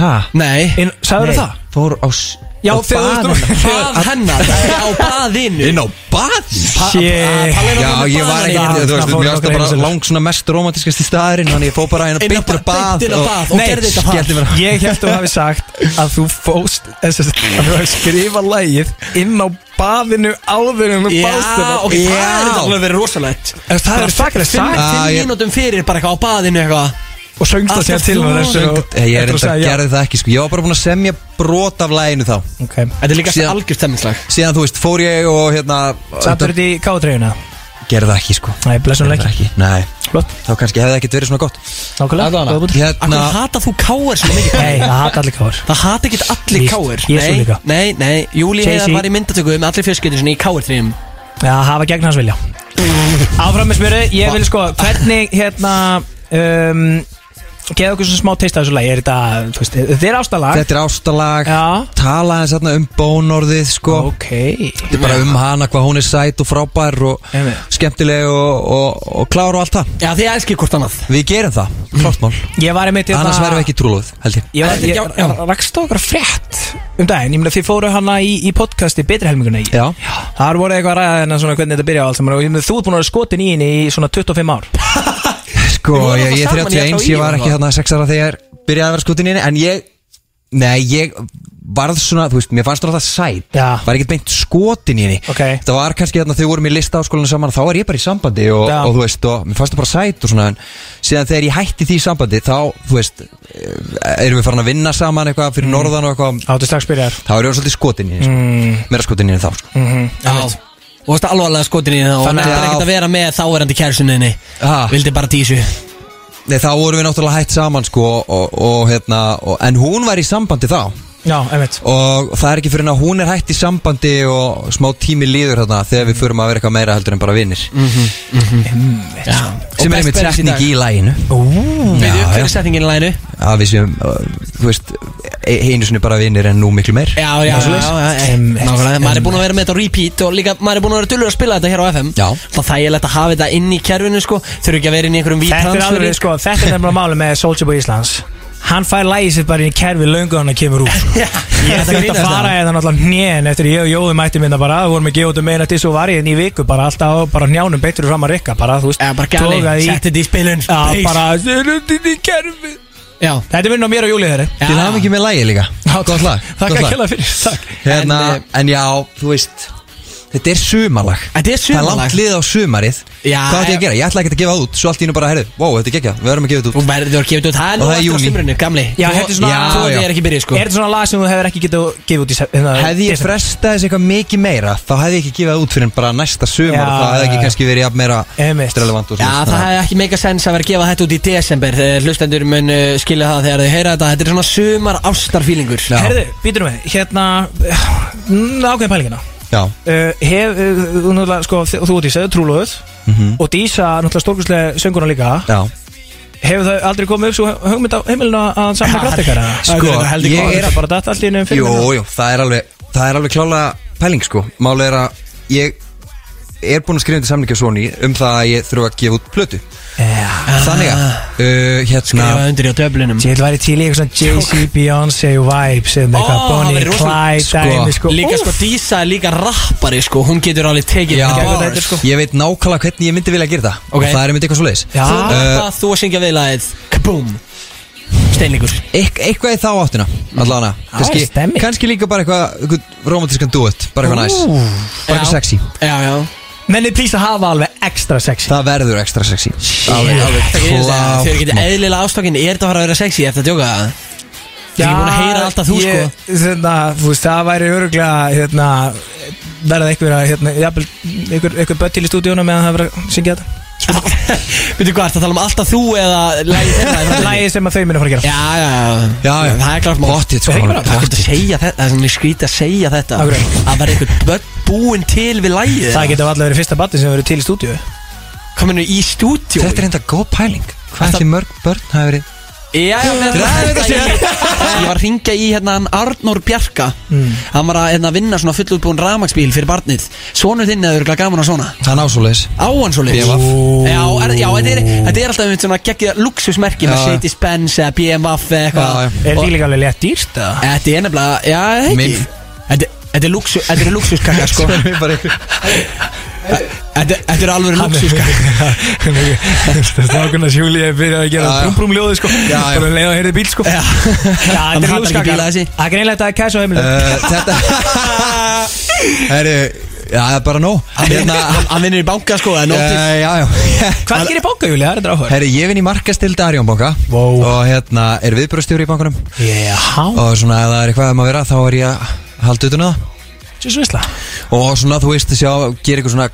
Speaker 4: ha?
Speaker 3: Nei
Speaker 2: inn, Sagður
Speaker 3: Nei.
Speaker 2: það?
Speaker 4: fór á s-
Speaker 2: Já,
Speaker 4: á
Speaker 2: þegar þú
Speaker 4: bað
Speaker 2: veist-
Speaker 4: hennar.
Speaker 3: Bað hennar á baðinu
Speaker 4: Inn á bað
Speaker 2: Shit
Speaker 4: Já, ég var ekkert, þú veist,
Speaker 2: Þarna
Speaker 4: mér
Speaker 2: fóru
Speaker 4: varst það
Speaker 2: nokkrir
Speaker 4: bara
Speaker 2: heimsóknir.
Speaker 4: lang svona mest romantiskasti staðurinn Þannig ég fór bara hérna
Speaker 3: Inn á
Speaker 4: beintur á
Speaker 3: bað-
Speaker 4: bað
Speaker 3: beint inn á bað og gerði þetta bað.
Speaker 4: skellti mér á-
Speaker 2: Ég held að þú hafi sagt að þú fóst þess að þú hafi skrifað lægið inn á baðinu áður en þú
Speaker 3: Já,
Speaker 2: báðst
Speaker 3: ok, það
Speaker 4: Já.
Speaker 3: er þetta alveg verið rosalegt
Speaker 2: En það er þakkilega sagt.
Speaker 4: Ah,
Speaker 3: Fimm
Speaker 4: ég-
Speaker 3: mínútum fyrir bara eitthvað á baðinu eitthvað
Speaker 2: og söngst það
Speaker 3: Alltaf
Speaker 2: síðan til
Speaker 3: þú-
Speaker 2: með þessu og-
Speaker 4: Ég ég
Speaker 2: eftir að
Speaker 4: er enda að
Speaker 2: segja já.
Speaker 4: gerði það ekki, sko Ég var bara búin að semja brot af læginu þá
Speaker 2: Ok
Speaker 3: Þetta er líka
Speaker 4: Síðan-
Speaker 3: algjörð stemminslag
Speaker 4: Síðan, þú veist, fór ég og hérna
Speaker 2: Sattur þetta í káðtreyjuna?
Speaker 4: Gerði það ekki, sko
Speaker 2: Nei, blessunlega
Speaker 4: Gerði það
Speaker 2: ekki
Speaker 4: ekki, nei
Speaker 2: Flott,
Speaker 4: Þá kannski hefði það ekkert verið svona gott
Speaker 2: nákvæmlega góða bútur.
Speaker 3: Akkur
Speaker 4: Hérna,
Speaker 3: hata þú káar svona mikið
Speaker 2: Nei, það hata allir káður
Speaker 3: Það hata ekkert allir
Speaker 2: Víst, ég
Speaker 3: káar
Speaker 2: er svo
Speaker 3: Nei,
Speaker 2: líka.
Speaker 3: nei, nei, Júli
Speaker 2: Jay-Z.
Speaker 3: Heiðar var í myndatöku með allir fjölskyldur sinni í káar þrjum
Speaker 2: Já, hafa gegn hans vilja Áfram með smjöru, ég vil sko Hvernig, hérna um, Geða okkur svona smá teist af þessu lagi Er þetta, þú veist, þetta er ástalag
Speaker 4: þetta er ástalag
Speaker 2: Já.
Speaker 4: Tala hans hérna um bónorðið, sko
Speaker 2: Ok
Speaker 4: Þetta er bara um hana, hvað hún er sæt og frábær og
Speaker 2: Einmitt.
Speaker 4: skemmtileg og, og, og klár og allt það
Speaker 3: Já, þið elskir hvort annað
Speaker 4: Við gerum það, klortmál
Speaker 2: Ég var einmitt hérna-
Speaker 4: Annars værum við ekki trúlóð, held ég
Speaker 2: Ég, var, ég,
Speaker 3: Já,
Speaker 2: ég,
Speaker 3: já.
Speaker 2: rakst á okkur frétt um daginn, ég meina þið fóru hana í, í podcasti betri helminguna í
Speaker 4: Já.
Speaker 2: Þar voru eitthvað að ræða hennar svona hvernig þetta byrjaði á allt saman og ég meina þú ert búin að vera skotin í henni í svona 25 ár
Speaker 4: Sko,
Speaker 3: vorum alltaf
Speaker 4: ég, ég er
Speaker 3: saman í
Speaker 4: 31,
Speaker 3: LHÍ
Speaker 4: ég var
Speaker 3: og
Speaker 4: ekki
Speaker 3: það.
Speaker 4: þarna 6 ára þegar byrjaði að vera skutin inni En ég, nei, ég varð svona, þú veist, mér fannst það sæt
Speaker 2: Já.
Speaker 4: Var ekkert beint skotin inni
Speaker 2: Ok.
Speaker 4: Það var kannski þarna, þau vorum í listaháskólinu saman Þá var ég bara í sambandi og,
Speaker 2: Já.
Speaker 4: og þú veist, og mér fannst það bara sæt og svona En síðan þegar ég hætti því sambandi, þá, þú veist eh, Erum við farin að vinna saman eitthvað fyrir norðan og eitthvað
Speaker 2: Áttu strax byrjar
Speaker 4: Þá er ég svolítið skotin inni, sko mm. Meira skotin inni en þá, sko
Speaker 3: Já Og þú veist alvarlega skotin í það og
Speaker 4: Þannig að-
Speaker 3: Þannig að ekkert að vera með þáverandi kærsuninni
Speaker 4: Ha.
Speaker 3: Vildi bara dísu
Speaker 4: Nei, þá vorum við náttúrulega hætt saman sko og, og, og hérna, og, en hún var í sambandi þá
Speaker 2: Já, einmitt
Speaker 4: og það er ekki fyrir en að hún er hætt í sambandi og smá tími líður þarna þegar við förum að vera eitthvað meira heldur en bara vinnir
Speaker 3: Mhm, Já
Speaker 4: sem er einmitt setning í læginu
Speaker 3: Við
Speaker 4: Já,
Speaker 3: hver
Speaker 4: já.
Speaker 3: er setningin í læginu
Speaker 4: að við séum, uh, þú veist, e- einu sinni bara vinnir en nú miklu meir
Speaker 3: Já, já, já, já, já
Speaker 2: Einmitt.
Speaker 3: Nákvæmlega, maður er búin að vera með þetta á repeat og líka maður er búin að vera dullur að spila þetta hér á FM
Speaker 4: Já.
Speaker 3: Það þægilegt að hafa þetta inn í kerfinu sko Þurfi ekki að vera inn í einhverjum
Speaker 2: Þetta er
Speaker 3: vítransferi.
Speaker 2: alveg, sko, þetta er nefnilega máli með Soulja Boy Íslands Hann fær lægið sér bara í kerfi löngu hann að kemur út sko. Ég
Speaker 3: Þetta
Speaker 2: ætti ekki
Speaker 3: grínast
Speaker 2: að fara
Speaker 3: það.
Speaker 2: eða náttúrulega hnén eftir ég og Jóði mætti minna bara við vorum að gefa út um eina til svo var ég inn í viku bara alltaf á- bara njánum beittur fram að rikka bara þú veist
Speaker 3: Já, bara gæli,
Speaker 2: togaði í
Speaker 3: setti þetta í spilun
Speaker 2: Já, bara Þetta í kerfi
Speaker 3: Já,
Speaker 2: Þetta er vinna á mér og Júli þeirri
Speaker 3: Já.
Speaker 4: Til hafa mikið með lægi líka, gott lag
Speaker 2: Takk
Speaker 4: gott
Speaker 2: að
Speaker 4: lag.
Speaker 2: kjalla fyrir Takk
Speaker 4: Hérna,
Speaker 3: En, eh,
Speaker 4: en, já, þú veist, þetta er sumarlag
Speaker 3: Þetta er
Speaker 4: Það er
Speaker 3: sumarlag.
Speaker 4: langt lið á sumarið
Speaker 3: Já,
Speaker 4: Hvað ætti ég
Speaker 3: já.
Speaker 4: að gera? Ég ætla ekki að gefa það út Svo allt í hennu bara, herðu, wow, þetta er gekkja, við verðum að gefa þetta út
Speaker 3: Þú verður að gefa þetta út Það er nú
Speaker 4: Og það er
Speaker 3: eftir á
Speaker 4: júní.
Speaker 3: sumrinu, gamli
Speaker 2: Já, þetta er svona-
Speaker 3: Þú
Speaker 4: Já,
Speaker 3: og
Speaker 4: já.
Speaker 3: þið er ekki byrjið,
Speaker 2: Er
Speaker 3: sko
Speaker 2: þetta svona lag sem þú hefur ekki getið að gefa út í sef- hérna,
Speaker 4: Hefði ég
Speaker 2: desember?
Speaker 4: frestað þessi eitthvað mikið meira Þá hefði ég ekki gefið það út fyrir en bara næsta sumar
Speaker 2: Já,
Speaker 4: og Það
Speaker 2: já,
Speaker 4: hefði ekki
Speaker 2: já.
Speaker 4: kannski verið jafn meira
Speaker 2: Einmitt.
Speaker 4: relevant og
Speaker 3: Já,
Speaker 4: svona.
Speaker 3: það hefði ekki meika sens að vera að gefa þetta út í desember Eh, Hlustendur mun eh, skilja það þegar þau heyra þetta Þetta er svona sumar ástarfílingur
Speaker 2: Herðu, býtur við Hérna mm, Ákveðin pælingina
Speaker 4: Já,
Speaker 2: uh, hef, uh, þú náttúrulega, sko, þi- þú og Dísa, trúlóðuð og Dísa, náttúrulega stórkurslega sönguna líka
Speaker 4: já
Speaker 2: hefur það aldrei komið upp svo hugmynd á heimilinu að samla kraftekara
Speaker 4: Sko, ég
Speaker 2: ég
Speaker 4: er
Speaker 2: er að bara datta allir innum fyrir
Speaker 4: Jú, jú, það er alveg Það er alveg klála pæling sko Málið er að ég er búin að skrifa undir samlinga Sony Um það að ég þurfa að gefa út plötu
Speaker 2: Já.
Speaker 4: Þannig að uh, hérna,
Speaker 3: Skrifa undir í á döflunum
Speaker 2: Ég vil væri til í eitthvað svona Jay-Z, Beyoncé, Vibes eða með
Speaker 3: Ó,
Speaker 2: eitthvað
Speaker 3: það
Speaker 2: Bonnie
Speaker 3: væri
Speaker 2: and
Speaker 3: rosalegt.
Speaker 2: Clyde dæmi sko
Speaker 3: Líka sko,
Speaker 2: Úff.
Speaker 3: Dísa er líka rappari sko Hún getur alveg tekið
Speaker 4: Já,
Speaker 3: bars.
Speaker 2: þetta er sko-
Speaker 4: ég veit nákvæmlega hvernig ég myndi vilja gera það
Speaker 3: Ok.
Speaker 4: Og það er myndi eitthvað svo leiðis
Speaker 2: Já.
Speaker 3: Þú
Speaker 4: Uh,
Speaker 3: rappa, þú að syngja viðlaðið Kaboom Steinlingur
Speaker 4: Eitth- eitthvað í þá áttina allavega
Speaker 2: Já,
Speaker 4: kannski,
Speaker 2: Mm. stemming.
Speaker 4: kannski líka bara eitthvað, eitthvað romantískan duet bara eitthvað næs, bara
Speaker 3: Já.
Speaker 4: eitthvað sexy
Speaker 3: Já, já
Speaker 2: Menni plís að hafa alveg ekstra sexy
Speaker 4: það verður ekstra sexy alveg, alveg
Speaker 3: Þau eru
Speaker 4: klárt
Speaker 3: ekki
Speaker 4: mál.
Speaker 3: eðlilega ástakinn Er þetta að fara að vera sexy eftir að djóka það? Ég er búin að heyra alltaf þú sko
Speaker 2: ég, hérna, þú veist, það væri öruglega hérna, verða einhver að hérna, jafnvel, einhver, einhver böttil í stúdíunum meðan það verður að syngja þetta
Speaker 3: Veitu hvað, ertu að tala um alltaf þú eða lægið þeirra í framtíðinni?
Speaker 2: Lægi sem að þau minna fara að gera
Speaker 3: Já, já, já
Speaker 4: Já, já.
Speaker 3: Það er klart mál
Speaker 4: Pottþétt, sko.
Speaker 3: Það er
Speaker 4: Pottþétt.
Speaker 3: ekkert að segja þetta Það er svona skrítið að segja þetta
Speaker 2: Af hverju?
Speaker 3: Að vera einhvern börn búinn til við lægið
Speaker 2: Það getur allavega verið fyrsta batti sem verður til í stúdíu
Speaker 3: Kominu í stúdíu
Speaker 4: þetta er hérna- enda góð pæling hvað
Speaker 3: Þetta-
Speaker 4: ætli mörg börn hafi verið
Speaker 3: Já, já, með
Speaker 4: Ræðum þetta
Speaker 3: ég, ég var að ringja í hérna hann Arnór Bjarka
Speaker 4: Mm.
Speaker 3: Hann var að hérna, vinna svona fullutbúin ramagsbíl fyrir barnið Svonur þinn eða örgulega gaman að svona
Speaker 4: Það er násulegis
Speaker 3: Á hann svo leiðis
Speaker 4: BMF.
Speaker 3: Já, er, já þetta, er, þetta er alltaf einmitt svona geggja luxusmerki
Speaker 4: Já,
Speaker 3: með
Speaker 4: já.
Speaker 3: Mercedes-Benz eða BMW eða
Speaker 4: Já, já.
Speaker 3: eitthvað
Speaker 2: Er
Speaker 3: Og
Speaker 2: því líka alveg létt dýrt eða?
Speaker 3: Þetta er nefnilega, já, eða ekki
Speaker 4: Minn-
Speaker 3: Þetta þetta er luxu, þetta er luxuskakka sko
Speaker 4: Svo er mér bara ykkur
Speaker 3: Þetta þetta er alveg luxuskakka
Speaker 2: sko? Stákunar sjúli ég byrjaði að gera
Speaker 4: Já, já.
Speaker 2: brum brum ljóði sko
Speaker 4: Já, já.
Speaker 2: Bara leiða að heyrði bíl sko Já,
Speaker 3: Hann
Speaker 2: þetta er
Speaker 3: hatar ekki
Speaker 2: lúskakar
Speaker 3: bíla þessi.
Speaker 2: Það er greinlega þetta er kæs á heimilu
Speaker 4: Eh, Þetta Herru Já, það er bara nóg
Speaker 3: Hann
Speaker 4: Hérna
Speaker 3: vinnur- Hann hann vinnur í banka sko Það er nótt
Speaker 4: eh, Já, já
Speaker 2: Hvað gerir bóka Júli? Það er þetta áhuga
Speaker 4: Herru, ég vinn í markastildi Arjónbanka
Speaker 2: Vó.
Speaker 4: Og hérna er viðbröðstjóri í bankanum
Speaker 2: Já,
Speaker 4: Og svona ef það er eitthvað um að vera Þá er ég að halda utan á það
Speaker 2: þessu veistla
Speaker 4: Og svona, þú veist, sjá, gera eitthvað svona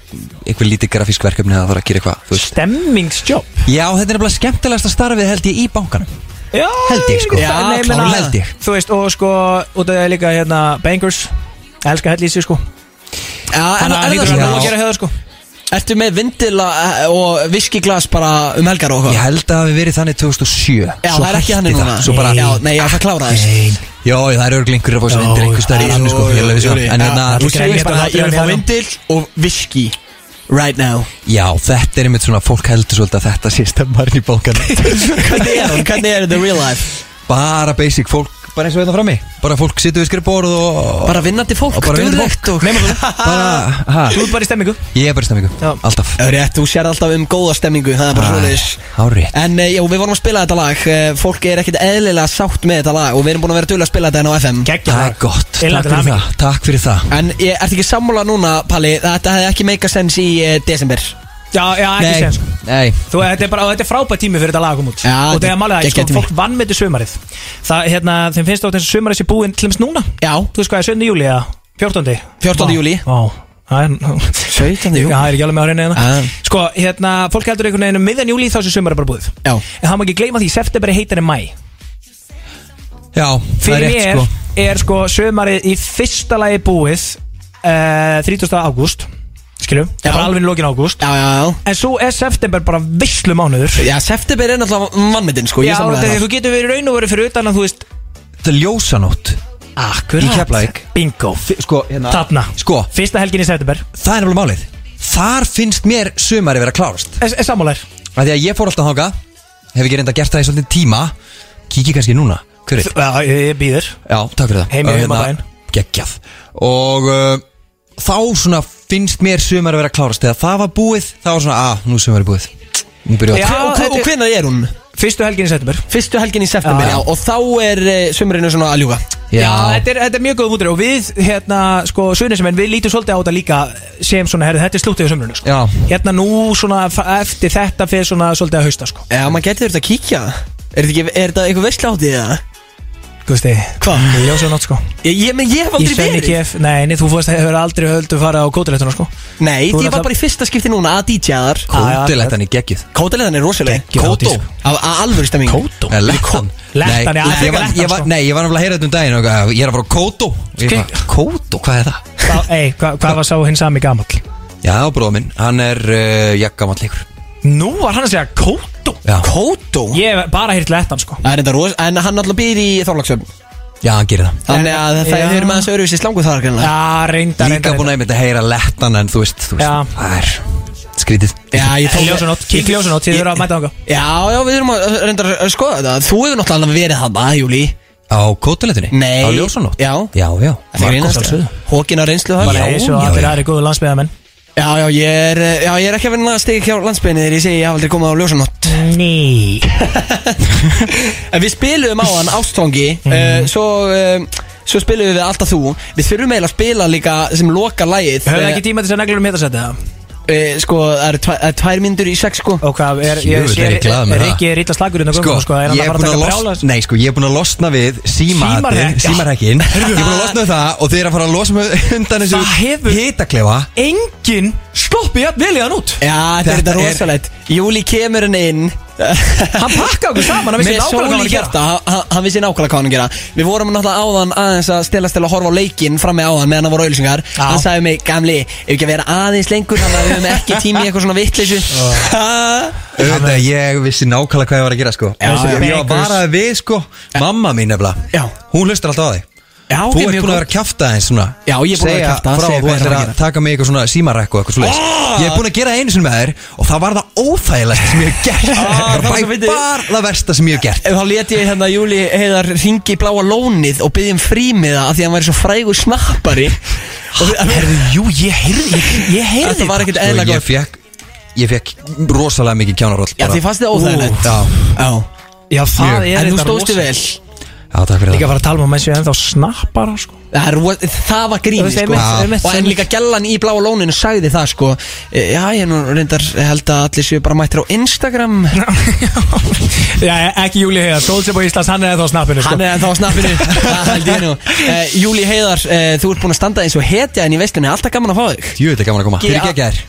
Speaker 4: Eitthvað lítið grafísk verkefni Það þarf að gera eitthvað, þú veist
Speaker 2: Stemmingsjobb
Speaker 4: Já, þetta er nefnilega skemmtilegasta starfið held ég í bankanum
Speaker 2: Já,
Speaker 4: Held ég, sko.
Speaker 2: það-
Speaker 3: Já,
Speaker 2: nei, ég meina-
Speaker 4: klárlega. Held ég.
Speaker 2: Þú veist, og sko, út af því að líka hérna Bangers, elska hell í sig sko
Speaker 3: Já, er,
Speaker 2: Þannig að
Speaker 3: er
Speaker 2: lítur
Speaker 3: það
Speaker 2: að vera
Speaker 4: Já.
Speaker 2: nóg
Speaker 3: svona
Speaker 2: að gera hefða sko
Speaker 3: Ertu með vindila eh, og viskiglas bara um helgar og
Speaker 4: Ég
Speaker 3: eitthvað?
Speaker 4: held að það hafi verið þannig 2007
Speaker 3: Já,
Speaker 4: Svo
Speaker 3: það er ekki
Speaker 4: hætti
Speaker 3: þannig
Speaker 4: það.
Speaker 3: núna
Speaker 4: Svo bara
Speaker 3: Já, nei, já, það kláraðist
Speaker 4: Jó, það eru örgl einhverjir að fá sér
Speaker 2: Jó,
Speaker 4: vindir einhver stær í
Speaker 2: já,
Speaker 4: þessu sko
Speaker 3: Jú,
Speaker 4: Ég
Speaker 3: jú,
Speaker 4: lefi svo
Speaker 3: jú,
Speaker 4: En
Speaker 3: já,
Speaker 4: hérna
Speaker 2: allir
Speaker 3: Þú segir
Speaker 2: greinir
Speaker 3: bara
Speaker 2: bara
Speaker 3: að ég vil fá
Speaker 2: hérna.
Speaker 3: vindil og viski Right now
Speaker 4: Já, þetta er einmitt svona Fólk heldur svolítið að þetta sé stemmarinn í bókan
Speaker 3: Hvernig er hún? Hvernig er the real life?
Speaker 4: Bara basic fólk Bara eins og
Speaker 2: hérna
Speaker 4: þetta frammi Bara fólk situr við skrifborð og
Speaker 3: Bara vinnandi fólk
Speaker 4: og bara vindur
Speaker 3: duglegt og-
Speaker 4: fólk Meimur þú Bara, ha
Speaker 2: Þú ert bara í stemmingu
Speaker 4: Ég er bara í stemmingu
Speaker 2: Já.
Speaker 4: Alltaf
Speaker 3: Það er Eh, Rétt, þú sér alltaf um góða stemmingu Það er bara svoleiðis
Speaker 4: Hárið
Speaker 3: En eh, já, við vorum að spila þetta lag Eh, Fólk er ekkit eðlilega sátt með þetta lag Og við erum búin að vera dula að spila þetta enn á FM
Speaker 2: Gekkja
Speaker 4: Það er gott Takk fyrir það Takk fyrir það
Speaker 3: En ég ert ekki sammála núna, Palli Þetta hefði ekki make a sense í eh, desember
Speaker 2: Já, já, ekki séð sko
Speaker 4: Nei
Speaker 2: Þú, þetta er bara, og þetta er frábært tími fyrir þetta lag að koma út
Speaker 3: Já,
Speaker 2: Og það er málið að
Speaker 3: geggjað
Speaker 2: sko,
Speaker 3: tími.
Speaker 2: fólk vann með þetta sumarið Það, hérna, þeim finnst þótt eins og sumarið sé búin til þess núna
Speaker 3: Já,
Speaker 2: Þú veist hvað er 7. júli eða 14.
Speaker 3: 14.
Speaker 2: Vá,
Speaker 3: júlí.
Speaker 2: Vá, það er Já, það
Speaker 3: 17.
Speaker 2: er ekki alveg með á reyna
Speaker 3: Ah.
Speaker 2: hérna Sko, hérna, fólk heldur einhvern veginn um miðjan júli þá sé sumarið bara búið
Speaker 3: já
Speaker 2: En það má ekki gleyma því, september er heitar en mæ
Speaker 4: Já, það er
Speaker 2: Fyrir mér
Speaker 4: rétt sko
Speaker 2: er sko sumarið í fyrsta lagi búið uh, 30. ágúst Skilju, það
Speaker 3: Já.
Speaker 2: er bara alveg lokin ágúst
Speaker 3: Já, já, já
Speaker 2: En svo er september bara visslu mánuður
Speaker 3: Já, september er náttúrulega mannmyndin sko, ég
Speaker 2: Já,
Speaker 3: samla
Speaker 2: þegar
Speaker 3: það
Speaker 2: þú getur verið raun og verið fyrir utan að þú veist
Speaker 4: Þetta er ljósanótt
Speaker 2: Akkurat
Speaker 4: Í Keflavík.
Speaker 2: Bingo
Speaker 4: Sko, hérna
Speaker 2: Þarna
Speaker 4: Sko,
Speaker 2: Fyrsta helgin í september
Speaker 4: það er alveg málið Þar finnst mér sumari vera klárast
Speaker 2: Er er sammálar
Speaker 4: Af því að ég fór alltaf þáka Hef ekki reynda gert það í svolítið tíma Kíki kannski núna Hver veit?
Speaker 2: Já, ég ég býður
Speaker 4: Já, takk fyrir það
Speaker 2: Heim í heimabæinn.
Speaker 4: Gekkjað Og uh, þá svona finnst mér sumari vera klárast Þegar það var búið Þá var svona, að, nú er sumari búið Nú byrjuð
Speaker 2: Já,
Speaker 4: að
Speaker 3: Og, og
Speaker 2: þetta er-
Speaker 3: hvenær er hún?
Speaker 2: Fyrstu helgin í september
Speaker 3: Fyrstu helgin í september,
Speaker 2: Já.
Speaker 3: já, og þá er uh, sömurinu svona að ljúga
Speaker 4: Já.
Speaker 2: þetta, er, þetta er mjög góð mútur Og við, hérna, sko, sunnismenn Við lítum svolítið á þetta líka Sem svona, herri, þetta er slútið á sömrunu, sko
Speaker 4: Já.
Speaker 2: Hérna nú, svona, fa- eftir þetta Fyrir svona, svolítið að hausta, sko
Speaker 3: Já, maður getur þetta að kíkja Er þetta, ekki, er þetta eitthvað veistla áttið eða?
Speaker 2: Guðsti
Speaker 3: Hvað?
Speaker 2: Ljósið nátt, sko
Speaker 3: Ég, ég, menn, ég hef
Speaker 2: Í
Speaker 3: aldrei
Speaker 2: Svenni
Speaker 3: verið
Speaker 2: KF Nei, nei, þú fórst að hefur aldrei höldu fara á kótilettuna, sko
Speaker 3: Nei,
Speaker 2: Þú
Speaker 3: ég var
Speaker 2: náttúrulega-
Speaker 3: bara í fyrsta skipti núna að DJ-aðar
Speaker 4: Kótilettan í geggjuð
Speaker 3: Kótaleðan er rosaleg
Speaker 2: Geggjuð hátíð, sko.
Speaker 3: Af af alvöru stemming
Speaker 2: Kótó
Speaker 4: Eða Lettan
Speaker 2: Lettan, já,
Speaker 4: Eh, Nei,
Speaker 2: þetta
Speaker 4: ég
Speaker 2: er
Speaker 4: var-
Speaker 2: lettan,
Speaker 4: ég var-
Speaker 2: sko.
Speaker 4: Nei, ég var nefnilega að heyra þetta um daginn og eitthvað, Ég er að fara á Kótó Og ég
Speaker 2: Skil-
Speaker 4: bara, Kótó, hvað er það?
Speaker 2: Ei, hva, hvað var sá hins sami gamall?
Speaker 4: Já, bróða minn, hann er uh, jakkamall ykkur
Speaker 2: Nú var hann að segja kótó
Speaker 4: Já,
Speaker 3: Kótó?
Speaker 2: Ég hef bara hýrt lettan, sko
Speaker 3: Það er þetta ros En hann alltaf býr í Þorlagsöfn
Speaker 4: já hann gerir það
Speaker 3: Þannig að það
Speaker 2: Já.
Speaker 3: þau eru með þessu öruvísi slangu þar kannar.
Speaker 2: Já, reynda,
Speaker 4: Líka
Speaker 2: reynda,
Speaker 4: búin að einmitt að heyra lettan en þú veist,
Speaker 2: Já.
Speaker 4: þú veist það er skrítið
Speaker 3: Já, ég tók
Speaker 2: Ljósanótt, kík ljósanótt, þið eru að mæta þangað
Speaker 3: Já, já, við erum að reynda að skoða þetta Þú hefur náttúrulega alveg verið þarna, Júli
Speaker 4: Á kótaletunni?
Speaker 3: Nei.
Speaker 4: Á ljósanótt?
Speaker 3: Já.
Speaker 4: Já, já
Speaker 3: Hókin á reynslu
Speaker 2: Bara
Speaker 4: Já,
Speaker 2: eins og
Speaker 4: já,
Speaker 2: allir
Speaker 4: já.
Speaker 2: aðri góðu landsbyðamenn
Speaker 3: já, já, ég er, eh, já, ég er ekki að vinna að stegja hjá landsbyrni þegar ég segi ég haf aldrei komið á ljósanótt
Speaker 2: Ný
Speaker 3: En við spilum á hann ástfangi
Speaker 2: Mhm.
Speaker 3: eh, svo, uh, svo spilum við alltaf þú Við þurfum eiginlega að spila líka sem loka lægið
Speaker 2: Höfum ekki tíma til þess að neglur um hitasæti það?
Speaker 3: uh, Sko, það eru tvæ, er tvær myndur í sex sko
Speaker 2: Og hvað, er,
Speaker 4: Jú,
Speaker 2: ég
Speaker 4: þetta
Speaker 2: sé,
Speaker 4: er ég glaður með
Speaker 2: er
Speaker 4: það.
Speaker 2: ekki rítla slagur undan
Speaker 4: Sko,
Speaker 2: gungum, sko, er hann
Speaker 4: ég
Speaker 2: að
Speaker 4: er
Speaker 2: fara að
Speaker 4: búin að
Speaker 2: taka brjála
Speaker 4: losna Nei, sko, ég er búin að losna við símahattin,
Speaker 2: Símarekk, já.
Speaker 4: símarhekkin Ég er búin að losna við það og þeir eru að fara að losa mig undan
Speaker 2: Það
Speaker 4: þessu
Speaker 2: hefur-
Speaker 4: hitaklefa
Speaker 2: Engin sloppi jafn vel í hann út
Speaker 3: Já, þetta er
Speaker 4: Þetta
Speaker 3: þetta
Speaker 4: er-
Speaker 3: rosalegt Júli kemur hann inn
Speaker 2: Hann pakkaði okkur saman, hann vissi
Speaker 3: Með
Speaker 2: nákvæmlega hvað hann
Speaker 3: sól í
Speaker 2: var að gera.
Speaker 3: hjarta, hann- hann- hann vissi nákvæmlega hvað hann var að gera Við vorum náttúrulega áðan aðeins að stela stela að horfa á leikinn fram með áðan meðan það voru auðlýsingar
Speaker 2: Já.
Speaker 3: Hann sagði mig, gamli, ef ekki að vera aðeins lengur þannig að við höfum ekki tími í eitthvað svona vittleysu
Speaker 4: Auðvitað, ég vissi nákvæmlega hvað ég var að gera sko
Speaker 3: Já,
Speaker 4: Ég-
Speaker 3: já.
Speaker 4: Ég var bara við sko Mamma mín nefnilega
Speaker 3: Já.
Speaker 4: Hún hlustar alltaf á þig
Speaker 3: Já, ok,
Speaker 4: Þú
Speaker 3: mjög
Speaker 4: ert búin að
Speaker 3: gott.
Speaker 4: vera að kjafta eins svona
Speaker 3: Já, ég er búin að vera að kjafta,
Speaker 4: Segja frá
Speaker 3: segja
Speaker 4: að
Speaker 3: hvað
Speaker 4: þú
Speaker 3: ég er að fara að
Speaker 4: ættir að
Speaker 3: gera. Ah!
Speaker 4: taka mig í eitthvað svona símarekku og eitthvað svoleiðis Ég er búin að gera það einu sinni með þér Og það var það óþægilegst sem ég hef gert
Speaker 3: Ah, það var svo
Speaker 4: Það var
Speaker 3: fyndið.
Speaker 4: bara það versta sem ég hef gert
Speaker 3: Ef þá let ég hérna Júli heiðar ringi í bláa lónið og byggjum frímiða af því að hann væri svo frægur snappari og
Speaker 2: Herðu, jú, ég heyrði, ég, ég heyrði
Speaker 3: þetta var ekkert
Speaker 4: Sko,
Speaker 3: eðla
Speaker 4: Ég
Speaker 3: gott
Speaker 4: fekk Ég fekk rosalega mikið kjánaroll
Speaker 3: Já,
Speaker 4: bara.
Speaker 3: því fannst þið óþægilegt.
Speaker 4: Ú, Já,
Speaker 3: Já,
Speaker 2: Já, það
Speaker 4: Mjög.
Speaker 2: er
Speaker 3: en þú
Speaker 2: reyndar
Speaker 3: stóðstu
Speaker 2: rosa-
Speaker 3: vel
Speaker 4: Já, takk fyrir
Speaker 2: Líka að
Speaker 4: það
Speaker 2: fara að tala um að menn séu ennþá snappar sko.
Speaker 3: Það, er, ro- það var
Speaker 2: Þú
Speaker 3: gríni
Speaker 2: veist,
Speaker 3: sko
Speaker 2: einmitt, einmitt,
Speaker 3: Og en
Speaker 2: einmitt.
Speaker 3: líka gellan í bláa lóninu sagði það sko E, Já, ég nú reyndar held að allir séu bara mættir á Instagram
Speaker 2: Já, e- ekki Júli Heiðar, Solskjaer á Íslands, hann er ennþá á snappinu sko.
Speaker 3: Hann er ennþá á snappinu Það held ég nú e, Júli Heiðar, e, þú ert búin að standa eins og hetja en í veistunni Alltaf gaman að fá þig
Speaker 4: Jú, þetta er gaman að koma
Speaker 3: Ge-
Speaker 4: Fyrir geggjær